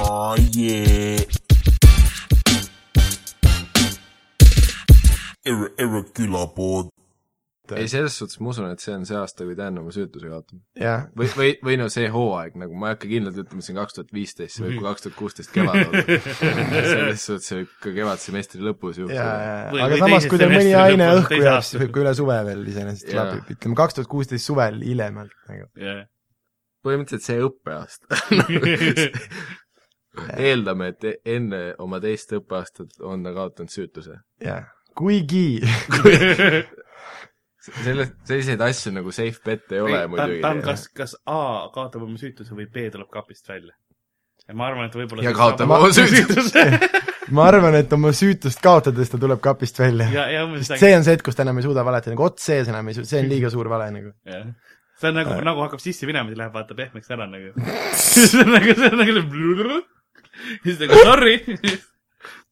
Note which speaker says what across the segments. Speaker 1: Oh yeah. Erre, erre külapod.
Speaker 2: ei , selles suhtes ma usun , et see on see aasta , kui Dan oma süütuse kaotab .
Speaker 3: jah ,
Speaker 2: või , või , või no see hooaeg nagu , ma ei hakka kindlalt ütlema , see on kaks tuhat viisteist , see võib ka kaks tuhat kuusteist kevad olla . selles suhtes see võib ka kevadsemestri lõpus
Speaker 3: ja , ja
Speaker 2: juhtuda .,
Speaker 4: Või-
Speaker 3: ja , aga
Speaker 4: või
Speaker 3: samas ,
Speaker 4: teise
Speaker 3: kui teil mõni
Speaker 4: semestri
Speaker 3: aine
Speaker 4: lõpus,
Speaker 3: õhku
Speaker 4: teise
Speaker 3: jääb ,
Speaker 4: aasta
Speaker 3: siis võib ka üle suve veel iseenesest
Speaker 2: Jaa.
Speaker 3: klapib , ütleme kaks tuhat kuusteist suvel hiljemalt nagu .
Speaker 4: jah .
Speaker 2: põhimõtteliselt see õppeaasta . eeldame , et e- enne oma teist õppeaastat on ta kaotanud süütuse .
Speaker 3: jah , kuigi
Speaker 2: selles , selliseid asju nagu safe bet ei ole
Speaker 4: ta
Speaker 2: muidugi .
Speaker 4: ta on kas , kas A kaotab oma süütuse või B tuleb kapist välja . ma arvan , et võib-olla
Speaker 2: Ja kaotab oma
Speaker 4: süütuse .
Speaker 3: ma arvan , et oma süütust kaotades ta tuleb kapist välja .
Speaker 4: ja , ja umbes
Speaker 3: see on see hetk , kus ta enam ei suuda valetada , nagu ots sees enam ei suuda , see on liiga suur vale nagu .
Speaker 4: jah . see on nagu ,
Speaker 2: Äh.
Speaker 4: nagu hakkab sisse minema , siis läheb vaata pehmeks ära nagu . see on nagu , see on nagu . siis nagu sorry .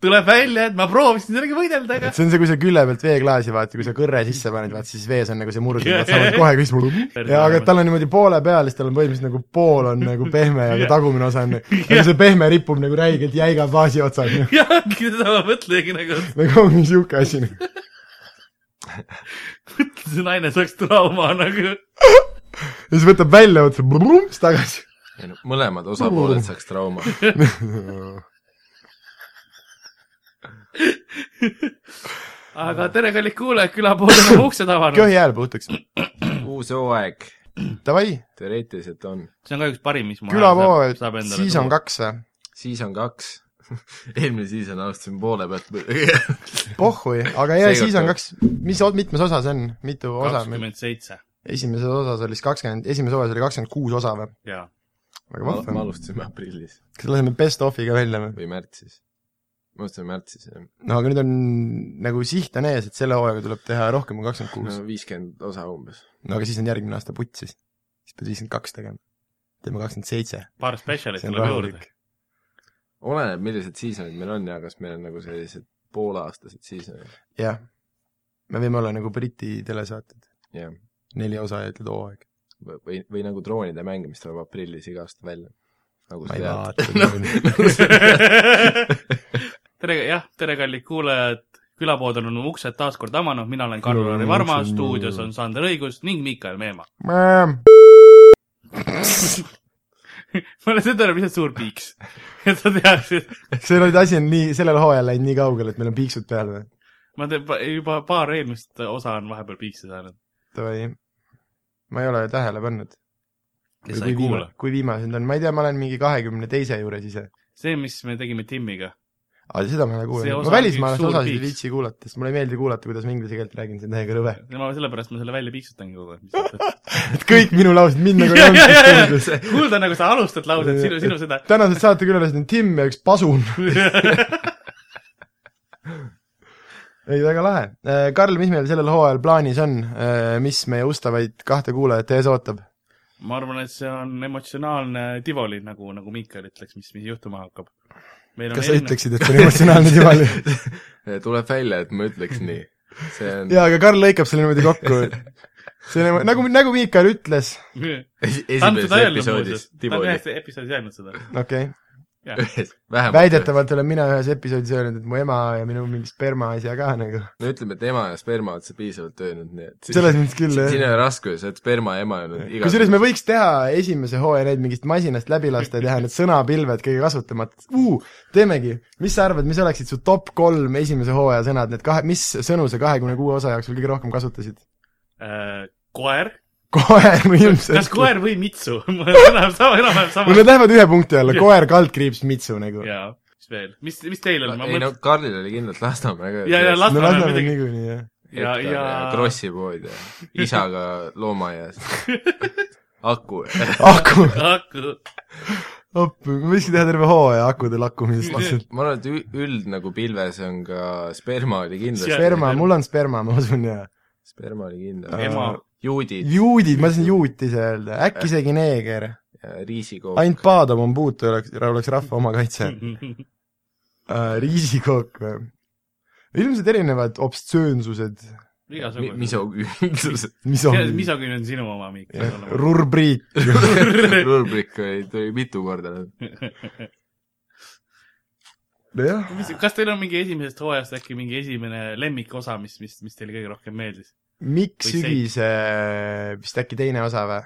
Speaker 4: tuleb välja , et ma proovisin sellega võidelda , aga
Speaker 3: et see on see , kui sa külje pealt veeklaasi vaata , kui sa kõrre sisse paned , vaata siis vees on nagu see murd , vaata sa oled kohe kõik mul ja aga tal on niimoodi poole peal , siis tal on põhimõtteliselt nagu pool on nagu pehme ja
Speaker 4: Jah.
Speaker 3: yeah. tagumine osa on yeah. , see pehme ripub nagu räigelt jäiga baasi otsaga .
Speaker 4: jah , seda ma mõtlengi nagu ,
Speaker 3: nagu ongi niisugune asi .
Speaker 4: et see naine saaks trauma nagu .
Speaker 3: ja siis võtab välja otsa , siis tagasi .
Speaker 2: ei no mõlemad osapooled saaks trauma .
Speaker 4: aga tere , kallid kuulajad , külapood on oma uksed avanud .
Speaker 3: köhi hääl puhtaks .
Speaker 2: uus hooaeg
Speaker 3: Davai ,
Speaker 2: teoreetiliselt on ,
Speaker 4: see on kahjuks parim , mis ma
Speaker 3: külapood , siis on . kaks või ?
Speaker 2: siis on kaks . eelmine siis on , alustasime poole pealt .
Speaker 3: pohhui , aga jaa ,
Speaker 2: Seekord
Speaker 3: siis on
Speaker 2: ka.
Speaker 3: kaks , mis , mitmes osa see on , mitu osa meil ?
Speaker 4: kakskümmend seitse ,
Speaker 3: esimeses osas oli siis kakskümmend , esimeses osas oli kakskümmend kuus osa või ?
Speaker 4: jaa .
Speaker 3: väga
Speaker 2: me
Speaker 3: vahva .
Speaker 2: alustasime aprillis
Speaker 3: kas laseme best of'iga välja või ?
Speaker 2: või märtsis . me alustasime märtsis , jah .
Speaker 3: no aga nüüd on nagu siht on ees , et selle hooajaga tuleb teha rohkem kui kakskümmend kuus .
Speaker 2: viiskümmend osa umbes .
Speaker 3: no aga siis on järgmine aasta putt siis . siis pead viiskümmend kaks tegema . teeme kakskümmend seitse .
Speaker 4: paar spetsialisti
Speaker 3: see on
Speaker 4: tuleb juurde .
Speaker 3: rahulik .
Speaker 2: oleneb , millised seasonid meil on ja kas meil on nagu sellised pooleaastased seasonid ,
Speaker 3: jah . me võime olla nagu Briti telesaated .
Speaker 2: jah .
Speaker 3: neli osa ja ütled hooaeg .
Speaker 2: või , või nagu droonide mäng , mis tuleb aprillis iga aasta välja . nagu
Speaker 3: ma
Speaker 2: sa
Speaker 3: ei
Speaker 2: tead .
Speaker 3: vaata no. .
Speaker 4: tere , jah , tere , kallid kuulajad , külapood on oma uksed taas kord avanud , mina olen Karl-Lari
Speaker 3: No,
Speaker 4: Varma ,
Speaker 3: see on-
Speaker 4: stuudios on Sander Õigus ning Miikael Meemaa . ma olen seda öelnud , lihtsalt suur piiks , et sa teaksid ,
Speaker 3: see oli , asi on nii , sellel hooajal läinud nii kaugele , et meil on piiksud peal või ?
Speaker 4: ma tean , juba paar eelmist osa on vahepeal piikse saanud .
Speaker 3: davai . ma ei ole tähele pannud .
Speaker 4: kes sa ei kuula .
Speaker 3: kui viimased on , ma ei tea , ma olen mingi kahekümne teise juures ise .
Speaker 4: see , mis me tegime Timmiga ,
Speaker 3: aga seda ma ei ole
Speaker 4: See
Speaker 3: kuulanud ,
Speaker 4: osa
Speaker 3: ma
Speaker 4: on
Speaker 3: välismaalaste
Speaker 4: üks suur
Speaker 3: osasid ei
Speaker 4: piiks.
Speaker 3: viitsi kuulata , sest mulle ei meeldi kuulata , kuidas ma inglise keelt räägin , see on täiega rõve .
Speaker 4: ma sellepärast ma selle välja piiksutangi kogu aeg , mis sa ütled .
Speaker 3: et kõik minu laused mind nagu ei
Speaker 4: ja , ja , ja ,
Speaker 3: olnud .
Speaker 4: ja , kuulda nagu sa alustad lauset , sinu , sinu seda .
Speaker 3: tänased saatekülalised on Tim ja üks Pasun . ei , väga lahe . Karl , mis meil sellel hooajal plaanis on , mis meie ustavaid kahte kuulajat ees ootab ?
Speaker 4: ma arvan , et see on emotsionaalne Tivoli , nagu , nagu Miikael ütleks , mis , mis juhtuma hakkab .
Speaker 3: kas sa ? ütleksid , et see on emotsionaalne divali ?
Speaker 2: tuleb välja , et ma ütleks nii . see on
Speaker 3: jaa , aga Karl lõikab selle niimoodi kokku . see on nagu , nagu Miikael ütles ,
Speaker 2: esi-
Speaker 4: ta on seda
Speaker 2: esimeses
Speaker 4: öelnud
Speaker 2: episoodis
Speaker 4: muuseas , ta on
Speaker 2: Tivoli
Speaker 4: ühes episoodis öelnud seda .
Speaker 3: okei okay. ,
Speaker 2: ühes , vähemalt .
Speaker 3: väidetavalt olen mina ühes episoodis öelnud , et mu ema ja minu mingi sperma asja ka nagu ,
Speaker 2: no ütleme , et ema ja sperma oled sa piisavalt öelnud , nii et si-
Speaker 3: selles mõttes küll ,
Speaker 2: siin ei
Speaker 3: jah .
Speaker 2: ole raskusi , sa oled sperma ja ema öelnud
Speaker 3: kusjuures me võiks teha esimese hooaja neid mingist masinast läbi lasta ja teha need sõnapilved kõige kasutamata uh, , teemegi , mis sa arvad , mis oleksid su top kolm esimese hooaja sõnad , need kahe , mis sõnu sa kahekümne kuue osa jooksul kõige rohkem kasutasid ?
Speaker 4: Äh, koer ,
Speaker 3: koer ilmselt .
Speaker 4: kas ? koer või mitsu ? enam-vähem sama ,
Speaker 3: mul
Speaker 4: enam-vähem
Speaker 3: need
Speaker 4: sama .
Speaker 3: lähevad ühe punkti alla , koer , kaldkriips , mitsu nagu .
Speaker 4: jaa , mis veel , mis , mis teil on , ma
Speaker 2: ei no
Speaker 4: mõtlen ,
Speaker 2: Karlil oli kindlalt Lasnamäe ka .
Speaker 4: Ja- ja
Speaker 3: no
Speaker 4: Lasnamäel
Speaker 3: Lasnamäel
Speaker 4: muidugi.
Speaker 3: niikuinii , jah .
Speaker 4: ja , ja
Speaker 2: Krossi pood ja isaga loomaaias . aku .
Speaker 3: aku ,
Speaker 4: aku ,
Speaker 3: appi , me võikski teha terve hooaja akude lakkumisest lihtsalt .
Speaker 2: ma arvan , et ü- üld nagu pilves on ka , sperma oli kindlasti .
Speaker 3: sperma , mul on sperma , ma usun , jaa .
Speaker 2: sperma oli kindlasti .
Speaker 4: ema ,
Speaker 2: juudid
Speaker 3: juudid , ma tahtsin juut ise öelda , äkki isegi neeger .
Speaker 2: ja riisikook .
Speaker 3: ainult Paado Mombutu oleks , oleks rahva omakaitse
Speaker 4: Hmm.
Speaker 3: uh, . riisikook või ? ilmselt erinevad obstsöönsused ,
Speaker 4: igasugune .
Speaker 2: misoküünsused .
Speaker 3: mis
Speaker 4: see ,
Speaker 3: on
Speaker 4: misoküün on nagu- sinu oma , Miikael .
Speaker 3: rurbriit ,
Speaker 2: rubrik oli , tuli mitu korda nüüd .
Speaker 3: nojah ,
Speaker 4: kas teil on mingi esimesest hooajast äkki mingi esimene lemmikosa , mis , mis , mis teile kõige rohkem meeldis ?
Speaker 3: Mikk
Speaker 4: Või
Speaker 3: sügise vist äkki teine osa või ?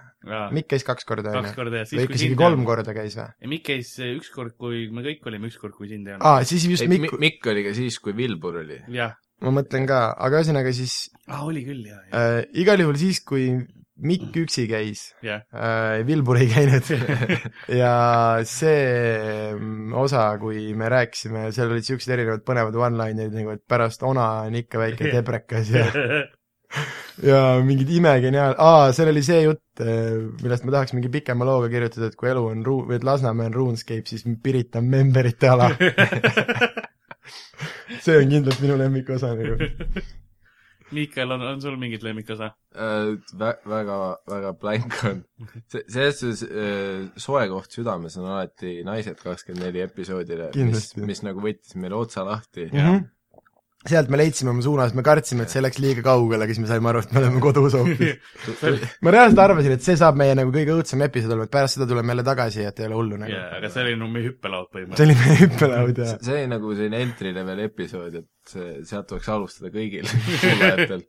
Speaker 3: Mikk käis kaks korda ,
Speaker 4: Ah. kaks
Speaker 3: onju ?
Speaker 4: korda ja siis
Speaker 3: või ,
Speaker 4: kui Hmm.
Speaker 3: ikka
Speaker 4: sind
Speaker 3: isegi
Speaker 4: ei
Speaker 3: kolm
Speaker 4: olnud .
Speaker 3: korda käis või ?
Speaker 4: Mikk käis ükskord , kui me kõik olime , ükskord , kui sind ei olnud .
Speaker 3: aa , Ah, siis just
Speaker 2: ei ,
Speaker 3: Mikk ,
Speaker 2: Mikk oli ka siis , kui Vilbur oli .
Speaker 4: jah ,
Speaker 3: ma mõtlen ka , aga ühesõnaga siis
Speaker 4: Ah, oli küll , jaa , jaa .
Speaker 3: äh, igal juhul siis , kui Mikk üksi käis
Speaker 4: Jah.
Speaker 3: äh, , Vilbur ei käinud ja see mm, osa , kui me rääkisime , seal olid siuksed erinevad põnevad one-linerid nagu , et pärast ona on ikka väike tebrakas ja , ja mingid imegeniaal- , aa , seal oli see jutt , millest ma tahaks mingi pikema looga kirjutada , et kui elu on ruu- , või et Lasnamäe on RuneScape , siis Pirita on memberite ala . see on kindlalt minu lemmikosa nagu .
Speaker 4: Miikael , on , on sul mingit lemmikosa ?
Speaker 2: Äh, Vä- , väga , väga blank on . see , selles suhtes äh, soe koht südames on alati Naised kakskümmend neli episoodile , mis
Speaker 3: Kindlasti. ,
Speaker 2: mis nagu võttis meile otsa lahti .
Speaker 4: Jah.
Speaker 3: -hmm. sealt me leidsime oma suuna , sest me kartsime , et see läks liiga kaugele , aga siis me saime aru , et me oleme kodus hoopis . ma reaalselt arvasin , et see saab meie nagu kõige õudsem episood olema , et pärast seda tuleme jälle tagasi ja et ei ole hullu nagu
Speaker 4: jaa , aga see oli no meie hüppelaud
Speaker 3: see
Speaker 4: põhimõtteliselt .
Speaker 3: oli meie hüppelaud ja
Speaker 2: see oli nagu selline entry level episood , et see , sealt tuleks alustada kõigil kuulajatel .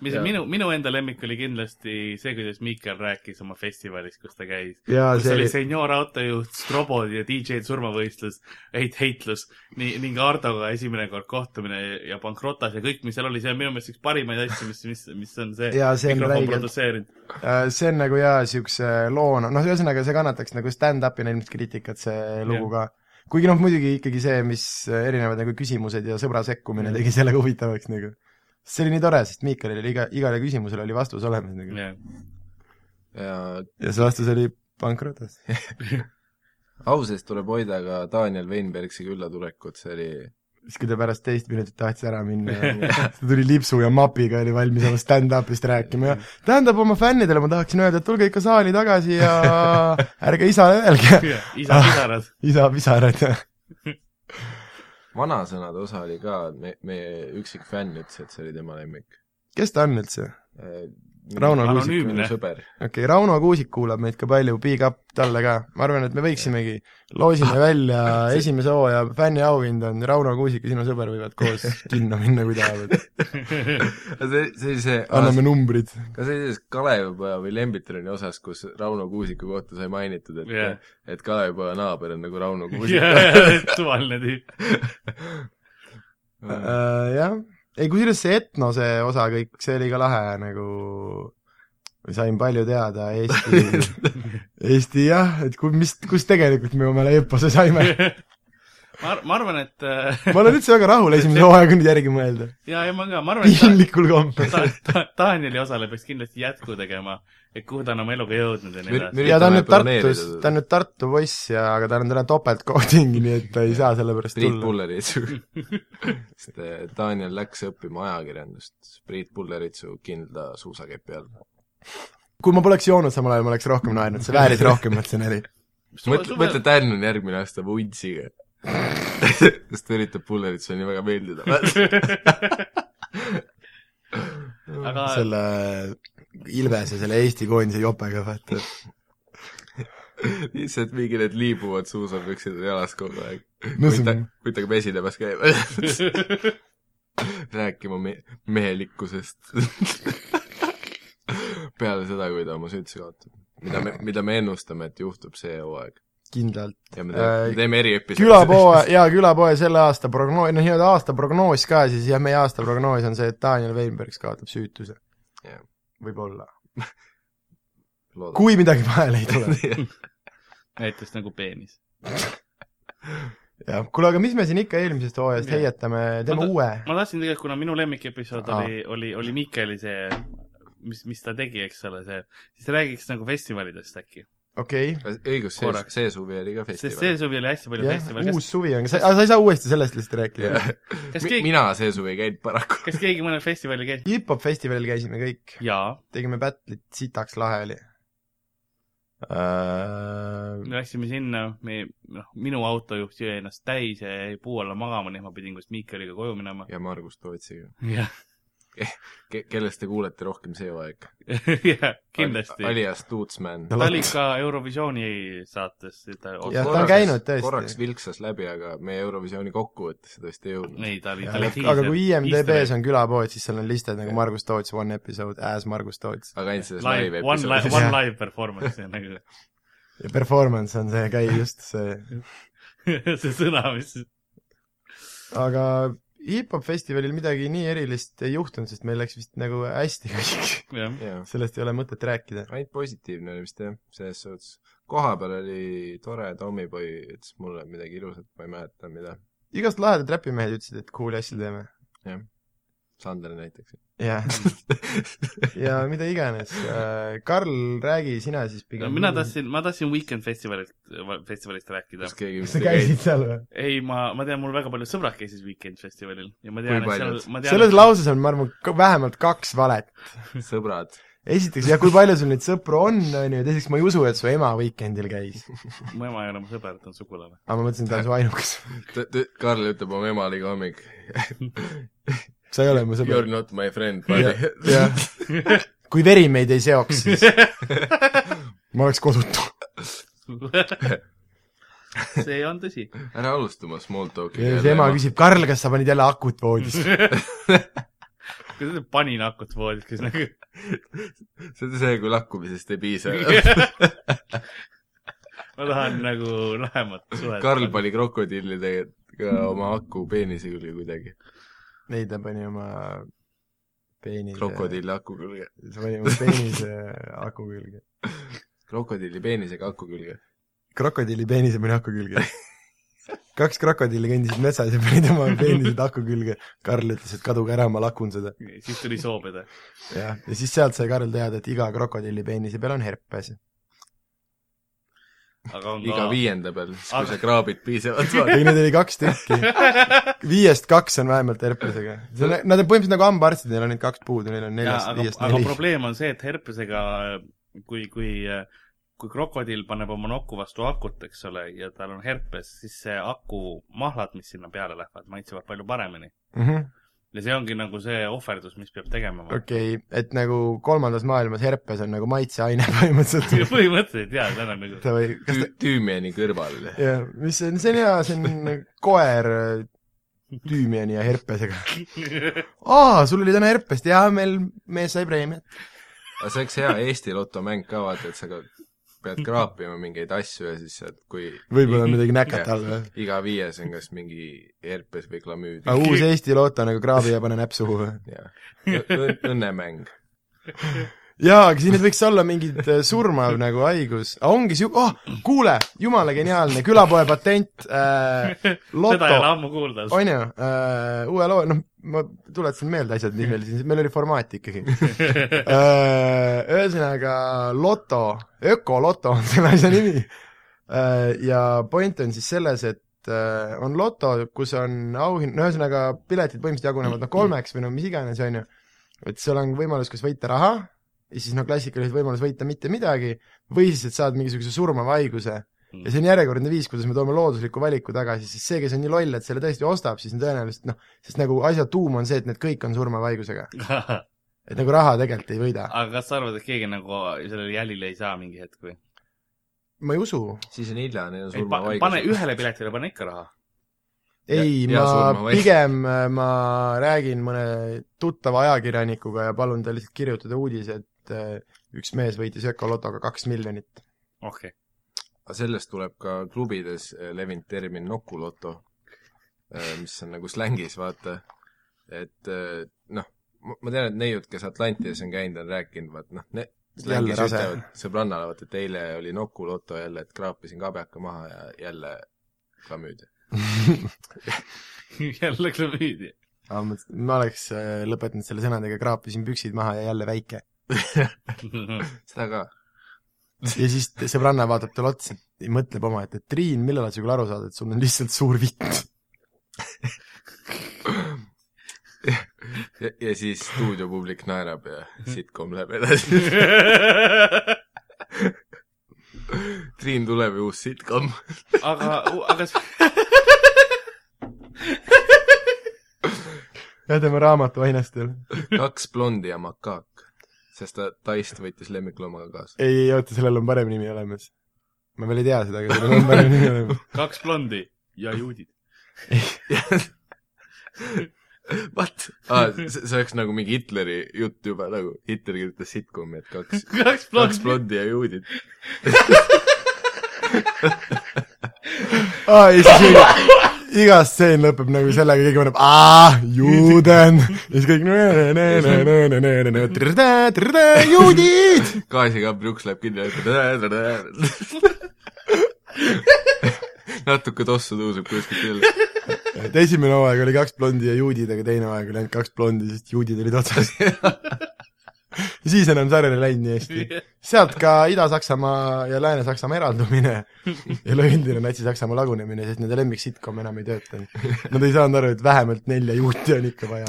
Speaker 4: mis
Speaker 2: jaa.
Speaker 4: minu , minu enda lemmik oli kindlasti see , kuidas Miikael rääkis oma festivalis , kus ta käis .
Speaker 3: ja
Speaker 4: kus
Speaker 3: see
Speaker 4: oli
Speaker 3: oli ,
Speaker 4: senior autojuht , strobod ja DJ-d surmavõistlus , heit- , heitlus nii, ning Hardoga esimene kord kohtumine ja pankrotas ja kõik , mis seal oli , see on minu meelest üks parimaid asju , mis , mis , mis on see
Speaker 3: Jaa, see on
Speaker 4: mikrofon
Speaker 3: räigelt-
Speaker 4: produtseerinud .
Speaker 3: see on nagu jaa , siukse loona , noh , ühesõnaga see kannataks nagu stand-up'ina ilmselt kriitikat , see lugu ka . kuigi noh , muidugi ikkagi see , mis erinevad nagu küsimused ja sõbra sekkumine tegi selle ka huvitavaks nagu . see oli nii tore , sest Miikalil oli iga , igale küsimusele oli vastus olemas nagu
Speaker 4: jah ,
Speaker 2: ja
Speaker 3: ja see vastus oli pankrotas .
Speaker 2: au sees tuleb hoida ka Daniel Veinbergsi küllatulekut , see oli
Speaker 3: siis kui ta pärast teist minutit tahtis ära minna ja ta tuli lipsu ja mapiga , oli valmis oma stand-up'ist rääkima ja tähendab oma fännidele ma tahaksin öelda , et tulge ikka saali tagasi ja ärge isale öelge ,
Speaker 4: isa
Speaker 3: Ah.
Speaker 4: pisarad .
Speaker 3: isa pisarad ja
Speaker 2: vanasõnade osa oli ka , me , meie üksik fänn ütles , et see oli tema lemmik .
Speaker 3: kes ta on üldse ? Rauno Kuusik .
Speaker 4: Anonüümne.
Speaker 2: sõber .
Speaker 3: okei okay, , Rauno Kuusik kuulab meid ka palju , big up talle ka , ma arvan , et me võiksimegi , loosime välja esimese hooaja fänniauhind on Rauno Kuusik ja sinu sõber võivad koos kinno minna , kui tahavad ,
Speaker 2: see , see oli see ,
Speaker 3: anname numbrid .
Speaker 2: ka sellises Kalevipoja või Lembitroni osas , kus Rauno Kuusiku kohta sai mainitud , et
Speaker 4: Jah.
Speaker 2: yeah. et Kalevipoja naaber on nagu Rauno Kuusik
Speaker 4: suvaline tüüp .
Speaker 2: yeah. .
Speaker 3: Äh, jah , ei kusjuures see etnose osa kõik , see oli ka lahe nagu , sain palju teada Eesti , Eesti jah , et kui , mis , kus tegelikult me omale eepose saime .
Speaker 4: ma , ma arvan , et äh,
Speaker 3: ma olen üldse väga rahul esimese hooaega nüüd järgi mõelda ,
Speaker 4: ja , ja ma ka , ma arvan , et
Speaker 3: piinlikul kombel .
Speaker 4: ta, ta, Danieli osale peaks kindlasti jätku tegema , et kuhu ta on oma eluga jõudnud ja nii
Speaker 2: Mür-
Speaker 4: edasi .
Speaker 2: mür-
Speaker 3: ja ta on nüüd
Speaker 2: planeerida
Speaker 3: Tartus ,
Speaker 2: seda.
Speaker 3: ta on nüüd Tartu poiss ja , aga tal on täna topeltkoht hingi , nii et ta ei saa selle pärast
Speaker 2: Priit
Speaker 3: tulla .
Speaker 2: Pulleritsu . sest eh, Daniel läks õppima ajakirjandust Priit Pulleritsu kindla suusakepi all .
Speaker 3: kui ma poleks joonud samal ajal , ma oleks rohkem naernud , see vääris rohkemat , see nali .
Speaker 2: mõtle , mõtle , Dan on järgmine aasta vuntsiga . sest ta üritab Pulleritsule nii väga meeldida .
Speaker 4: aga Selle...
Speaker 3: selle Ilvese , selle Eesti koondise jopega , vaata .
Speaker 2: lihtsalt mingi need liibuvad suusapüksid on jalas kogu aeg .
Speaker 3: No
Speaker 2: kui
Speaker 3: see
Speaker 2: ta
Speaker 3: on- ,
Speaker 2: kui ta ka mesilemas käib . rääkima me- , mehelikkusest . peale seda , kui ta oma süütuse kaotab . mida me , mida me ennustame , et juhtub see hooaeg .
Speaker 3: kindlalt .
Speaker 2: ja me teeme,
Speaker 3: Äh,
Speaker 2: me teeme eriepisoodi .
Speaker 3: külapoe , jaa , külapoe selle aasta prognoos , noh , nii-öelda aasta prognoos ka siis , jah , meie aasta prognoos on see , et Daniel Weinbergs kaotab süütuse
Speaker 2: Jah. .
Speaker 3: võib-olla . kui midagi vahele ei tule .
Speaker 4: näiteks nagu peenis .
Speaker 3: jah , kuule , aga mis me siin ikka eelmisest hooajast
Speaker 4: Jah.
Speaker 3: heietame , teeme
Speaker 4: Oota-
Speaker 3: uue .
Speaker 4: ma tahtsin tegelikult , kuna minu lemmikepisood
Speaker 3: Aa.
Speaker 4: oli , oli , oli Miikeli see , mis , mis ta tegi , eks ole , see , siis räägiks nagu festivalidest äkki .
Speaker 3: okei ,
Speaker 2: õigus , see ,
Speaker 4: Korraks.
Speaker 2: see suvi oli ka
Speaker 4: sest
Speaker 2: festival
Speaker 4: see . suvi oli hästi palju
Speaker 3: jah ,
Speaker 4: festivale ,
Speaker 3: uus suvi on , aga sa ei saa uuesti sellest lihtsalt rääkida .
Speaker 4: kas
Speaker 2: Mi-
Speaker 4: keegi-
Speaker 2: mina see suvi ei käinud paraku .
Speaker 4: kas keegi mõnel festivalil käis ?
Speaker 3: hip-hop festivalil käisime kõik ,
Speaker 4: jaa ,
Speaker 3: tegime battle'it , sitaks lahe oli uh, .
Speaker 4: me läksime sinna , me , noh , minu autojuht jõi ennast täis ja jäi puu alla magama , nii et ma pidin koos Miikeliga koju minema .
Speaker 2: ja Margus Tootsiga .
Speaker 4: jah ,
Speaker 2: ke- , kellest te kuulete rohkem see aeg ?
Speaker 4: jah , kindlasti .
Speaker 2: alias Tuutsman .
Speaker 4: ta oli ka Eurovisiooni saates , ta
Speaker 3: Jah, ta on käinud tõesti.
Speaker 2: korraks vilksas läbi , aga meie Eurovisiooni kokkuvõttesse ta vist ei jõudnud .
Speaker 4: ei , ta oli , ta oli
Speaker 3: aga kui IMDB-s on külapood , siis seal on listed nagu Margus Toots , one episode , as Margus Toots .
Speaker 2: aga ainult selles live
Speaker 4: live , one live ,
Speaker 2: episoodis .
Speaker 4: one
Speaker 3: Jah.
Speaker 4: live performance on nagu
Speaker 3: ja performance on see , käi just see .
Speaker 4: see sõna , mis
Speaker 3: aga hip-hop festivalil midagi nii erilist ei juhtunud , sest meil läks vist nagu hästi kõik .
Speaker 4: jah ,
Speaker 2: jah ,
Speaker 3: sellest ei ole mõtet rääkida .
Speaker 2: ainult positiivne oli vist jah , selles suhtes . kohapeal oli tore , Tommyboy ütles mulle midagi ilusat , ma ei mäleta , mida .
Speaker 3: igast lahedad räpimehed ütlesid , et cool'i asju teeme .
Speaker 2: Sander näiteks .
Speaker 3: jah , ja mida iganes . Karl , räägi sina siis
Speaker 4: no
Speaker 3: pigem .
Speaker 4: mina . tahtsin , ma tahtsin Weekend festivalilt , festivalist rääkida
Speaker 2: kas . keegi
Speaker 3: kas sa
Speaker 2: vist ei
Speaker 3: käisid
Speaker 2: käinud ?
Speaker 3: seal või ?
Speaker 4: ei , ma , ma tean , mul väga paljud sõbrad käisid Weekend festivalil ja ma
Speaker 2: Kui
Speaker 4: tean , et seal
Speaker 2: paljud? ,
Speaker 4: ma
Speaker 3: selles
Speaker 4: tean ,
Speaker 3: lauses on , ma arvan , vähemalt kaks valet .
Speaker 2: sõbrad .
Speaker 3: esiteks , jah , kui palju sul neid sõpru on , on ju , ja teiseks ma ei usu , et su ema Weekendil käis .
Speaker 4: et mu ema ei ole mu sõber , ta on sugulane .
Speaker 3: aga ma mõtlesin , et ta on su ainukas .
Speaker 2: Karl ütleb oma emale iga hommik .
Speaker 3: sa ei ole mu
Speaker 2: You are
Speaker 3: sõber .
Speaker 2: not my friend , buddy .
Speaker 3: jah , kui veri meid ei seoks , siis ma oleks kodutu .
Speaker 4: see on tõsi .
Speaker 2: ära alusta oma small talk'i . noh."
Speaker 3: ja siis ema . küsib , Karl , kas sa panid jälle akut voodisse ?
Speaker 4: kuidas ta pani nakut voodis , kes nagu
Speaker 2: see on see , kui lakkumisest ei piisa .
Speaker 4: ma tahan nagu lähemat suhet .
Speaker 2: Karl . pani krokodilli tegelikult ka oma aku peenise külge kuidagi .
Speaker 3: ei , ta pani oma peenise .
Speaker 2: krokodilli aku külge .
Speaker 3: ta pani oma peenise aku külge .
Speaker 2: krokodilli peenisega aku külge .
Speaker 3: krokodilli peenise pani aku külge . kaks krokodilli kõndisid metsas ja panid oma peenised aku külge . Karl ütles , et kaduge ära , ma lakun seda .
Speaker 4: siis tuli soobida .
Speaker 3: jah , ja siis sealt sai Karl teada , et iga krokodilli peenise peal on herpes .
Speaker 4: aga on
Speaker 2: iga
Speaker 4: ka .
Speaker 2: viienda peal , siis kui
Speaker 4: Aga-
Speaker 2: sa kraabid piisavalt vaata .
Speaker 3: ei , neid oli kaks tükki . viiest kaks on vähemalt herpesega . Nad on põhimõtteliselt nagu hambaarstid , neil on neid kaks puudu , neil on
Speaker 4: jaa ,
Speaker 3: neljast ,
Speaker 4: aga ,
Speaker 3: viiest
Speaker 4: aga
Speaker 3: neli .
Speaker 4: probleem on see , et herpesega , kui , kui , kui krokodill paneb oma nokku vastu akut , eks ole , ja tal on herpes , siis see aku mahlad , mis sinna peale lähevad , maitsevad palju paremini .
Speaker 3: Mhm.
Speaker 4: ja see ongi nagu see ohverdus , mis peab tegema .
Speaker 3: okei , et nagu kolmandas maailmas herpes on nagu maitseaine põhimõtteliselt .
Speaker 4: põhimõtteliselt jaa , tal on nagu ,
Speaker 3: või kas ta ,
Speaker 2: tüümiani kõrval .
Speaker 3: jah , mis see on , see on hea , see on koer äh, tüümiani ja herpesega . aa , sul oli täna herpest , jaa , meil mees sai preemiat .
Speaker 2: aga see oleks hea Eesti lotomäng ka , vaata , et sa ka pead kraapima mingeid asju ja siis saad , kui
Speaker 3: võib-olla on midagi näkat all või ?
Speaker 2: iga viies on kas mingi herpes või klamüüd .
Speaker 3: aga uus Eesti loota nagu kraabi ja pane näpp suhu või ?
Speaker 2: jah , õnnemäng .
Speaker 3: jaa , aga siin nüüd võiks olla mingid äh, surmav nagu haigus , ongi siu- , oh , kuule , jumala geniaalne külapoe patent äh, ,
Speaker 4: seda ei ole
Speaker 3: loto ,
Speaker 4: ammu kuulda .
Speaker 3: on ju äh, , uue loo , noh , ma tuletasin meelde asjad , mis meil siin , meil oli formaat ikkagi äh, . Ühesõnaga , loto , ökoloto on selle asja nimi äh, ja point on siis selles , et äh, on loto , kus on auhind , no ühesõnaga piletid põhimõtteliselt jagunevad noh , kolmeks või no mis iganes , on ju , et seal on võimalus kas võita raha ja siis noh , klassikaliselt võimalus võita mitte midagi või siis , et saad mingisuguse surmava haiguse ja see on järjekordne viis , kuidas me toome loodusliku valiku tagasi , sest see , kes on nii loll , et selle tõesti ostab , siis on tõenäoliselt noh , sest nagu asja tuum on see , et need kõik on surmava haigusega ,
Speaker 4: aga
Speaker 3: et nagu raha tegelikult ei võida .
Speaker 4: kas sa arvad , et keegi nagu sellele jälile ei saa mingi hetk või ?
Speaker 3: ma ei usu ,
Speaker 2: siis on hilja , neil on
Speaker 4: ei ,
Speaker 2: surmavaigus .
Speaker 4: pane ühele piletile , pane ikka raha .
Speaker 3: ei ,
Speaker 2: Ja- ja
Speaker 3: ma
Speaker 2: surmavaigus.
Speaker 3: pigem äh, ma räägin mõne tuttava ajakirjanikuga ja palun tal lihtsalt kirjutada uudise , et äh, üks mees võitis ökolotoga kaks miljonit .
Speaker 4: okei
Speaker 2: aga sellest tuleb ka klubides eh, levinud termin nokuloto , mis on nagu slängis , vaata . et eh, noh , ma tean , et neiud , kes Atlantis on käinud , on rääkinud , vaat noh , ne- ,
Speaker 3: Jälle
Speaker 2: slängis
Speaker 3: rase.
Speaker 2: ütlevad sõbrannale , vaat et eile oli nokuloto jälle , et kraapisin kabjaka maha ja jälle klamüüd .
Speaker 4: okay. , jälle klamüüdi .
Speaker 3: ma mõtlesin , et ma oleks äh, lõpetanud selle sõnadega , kraapisin püksid maha ja jälle väike .
Speaker 2: seda ka .
Speaker 3: ja siis te- sõbranna vaatab talle otsa ja mõtleb omaette , et Triin , millal sa küll aru saad , et sul on lihtsalt suur vitt .
Speaker 2: ja , ja siis stuudiopublik naerab ja sitcom läheb edasi . Triin tuleb ja uus sitcom .
Speaker 4: aga , aga s-
Speaker 3: ja tema raamatu ainestel .
Speaker 2: kaks blondi ja makaak . sest ta Taist võttis lemmikloomaga kaasa .
Speaker 3: ei , ei oota , sellel on parem nimi olemas . ma veel ei tea seda , aga sellel on parem nimi olemas .
Speaker 4: kaks blondi ja juudid .
Speaker 2: What ah, ? see see oleks nagu mingi Hitleri jutt juba nagu , Hitler kirjutas sitcomi , et kaks ,
Speaker 4: kaks
Speaker 2: kaks blondi
Speaker 4: blondi .
Speaker 2: ja juudid .
Speaker 3: aa , ja siis iga, iga stseen lõpeb nagu sellega , keegi paneb aa , juuden . ja siis kõik nõ-nõ-nõ-nõ-nõ-nõ-nõ-nõ-nõ-nõ, trrrrrrrrrrrrrrrrrrrrrrrrrrrrrrrrr, juudid .
Speaker 2: gaasiga pruks läheb kinni , "Äh, natuke tossu tõuseb kuskilt jälle .
Speaker 3: et esimene hooaeg oli kaks blondi ja juudid , aga teine hooaeg oli ainult kaks blondi , sest juudid olid otsas . ja siis enam sarjale läinud nii hästi . sealt ka Ida-Saksamaa ja Lääne-Saksamaa eraldumine ja üleüldine Natsi-Saksamaa lagunemine , sest nende lemmiksitcom enam ei töötanud . Nad ei saanud aru , et vähemalt nelja juuti on ikka vaja .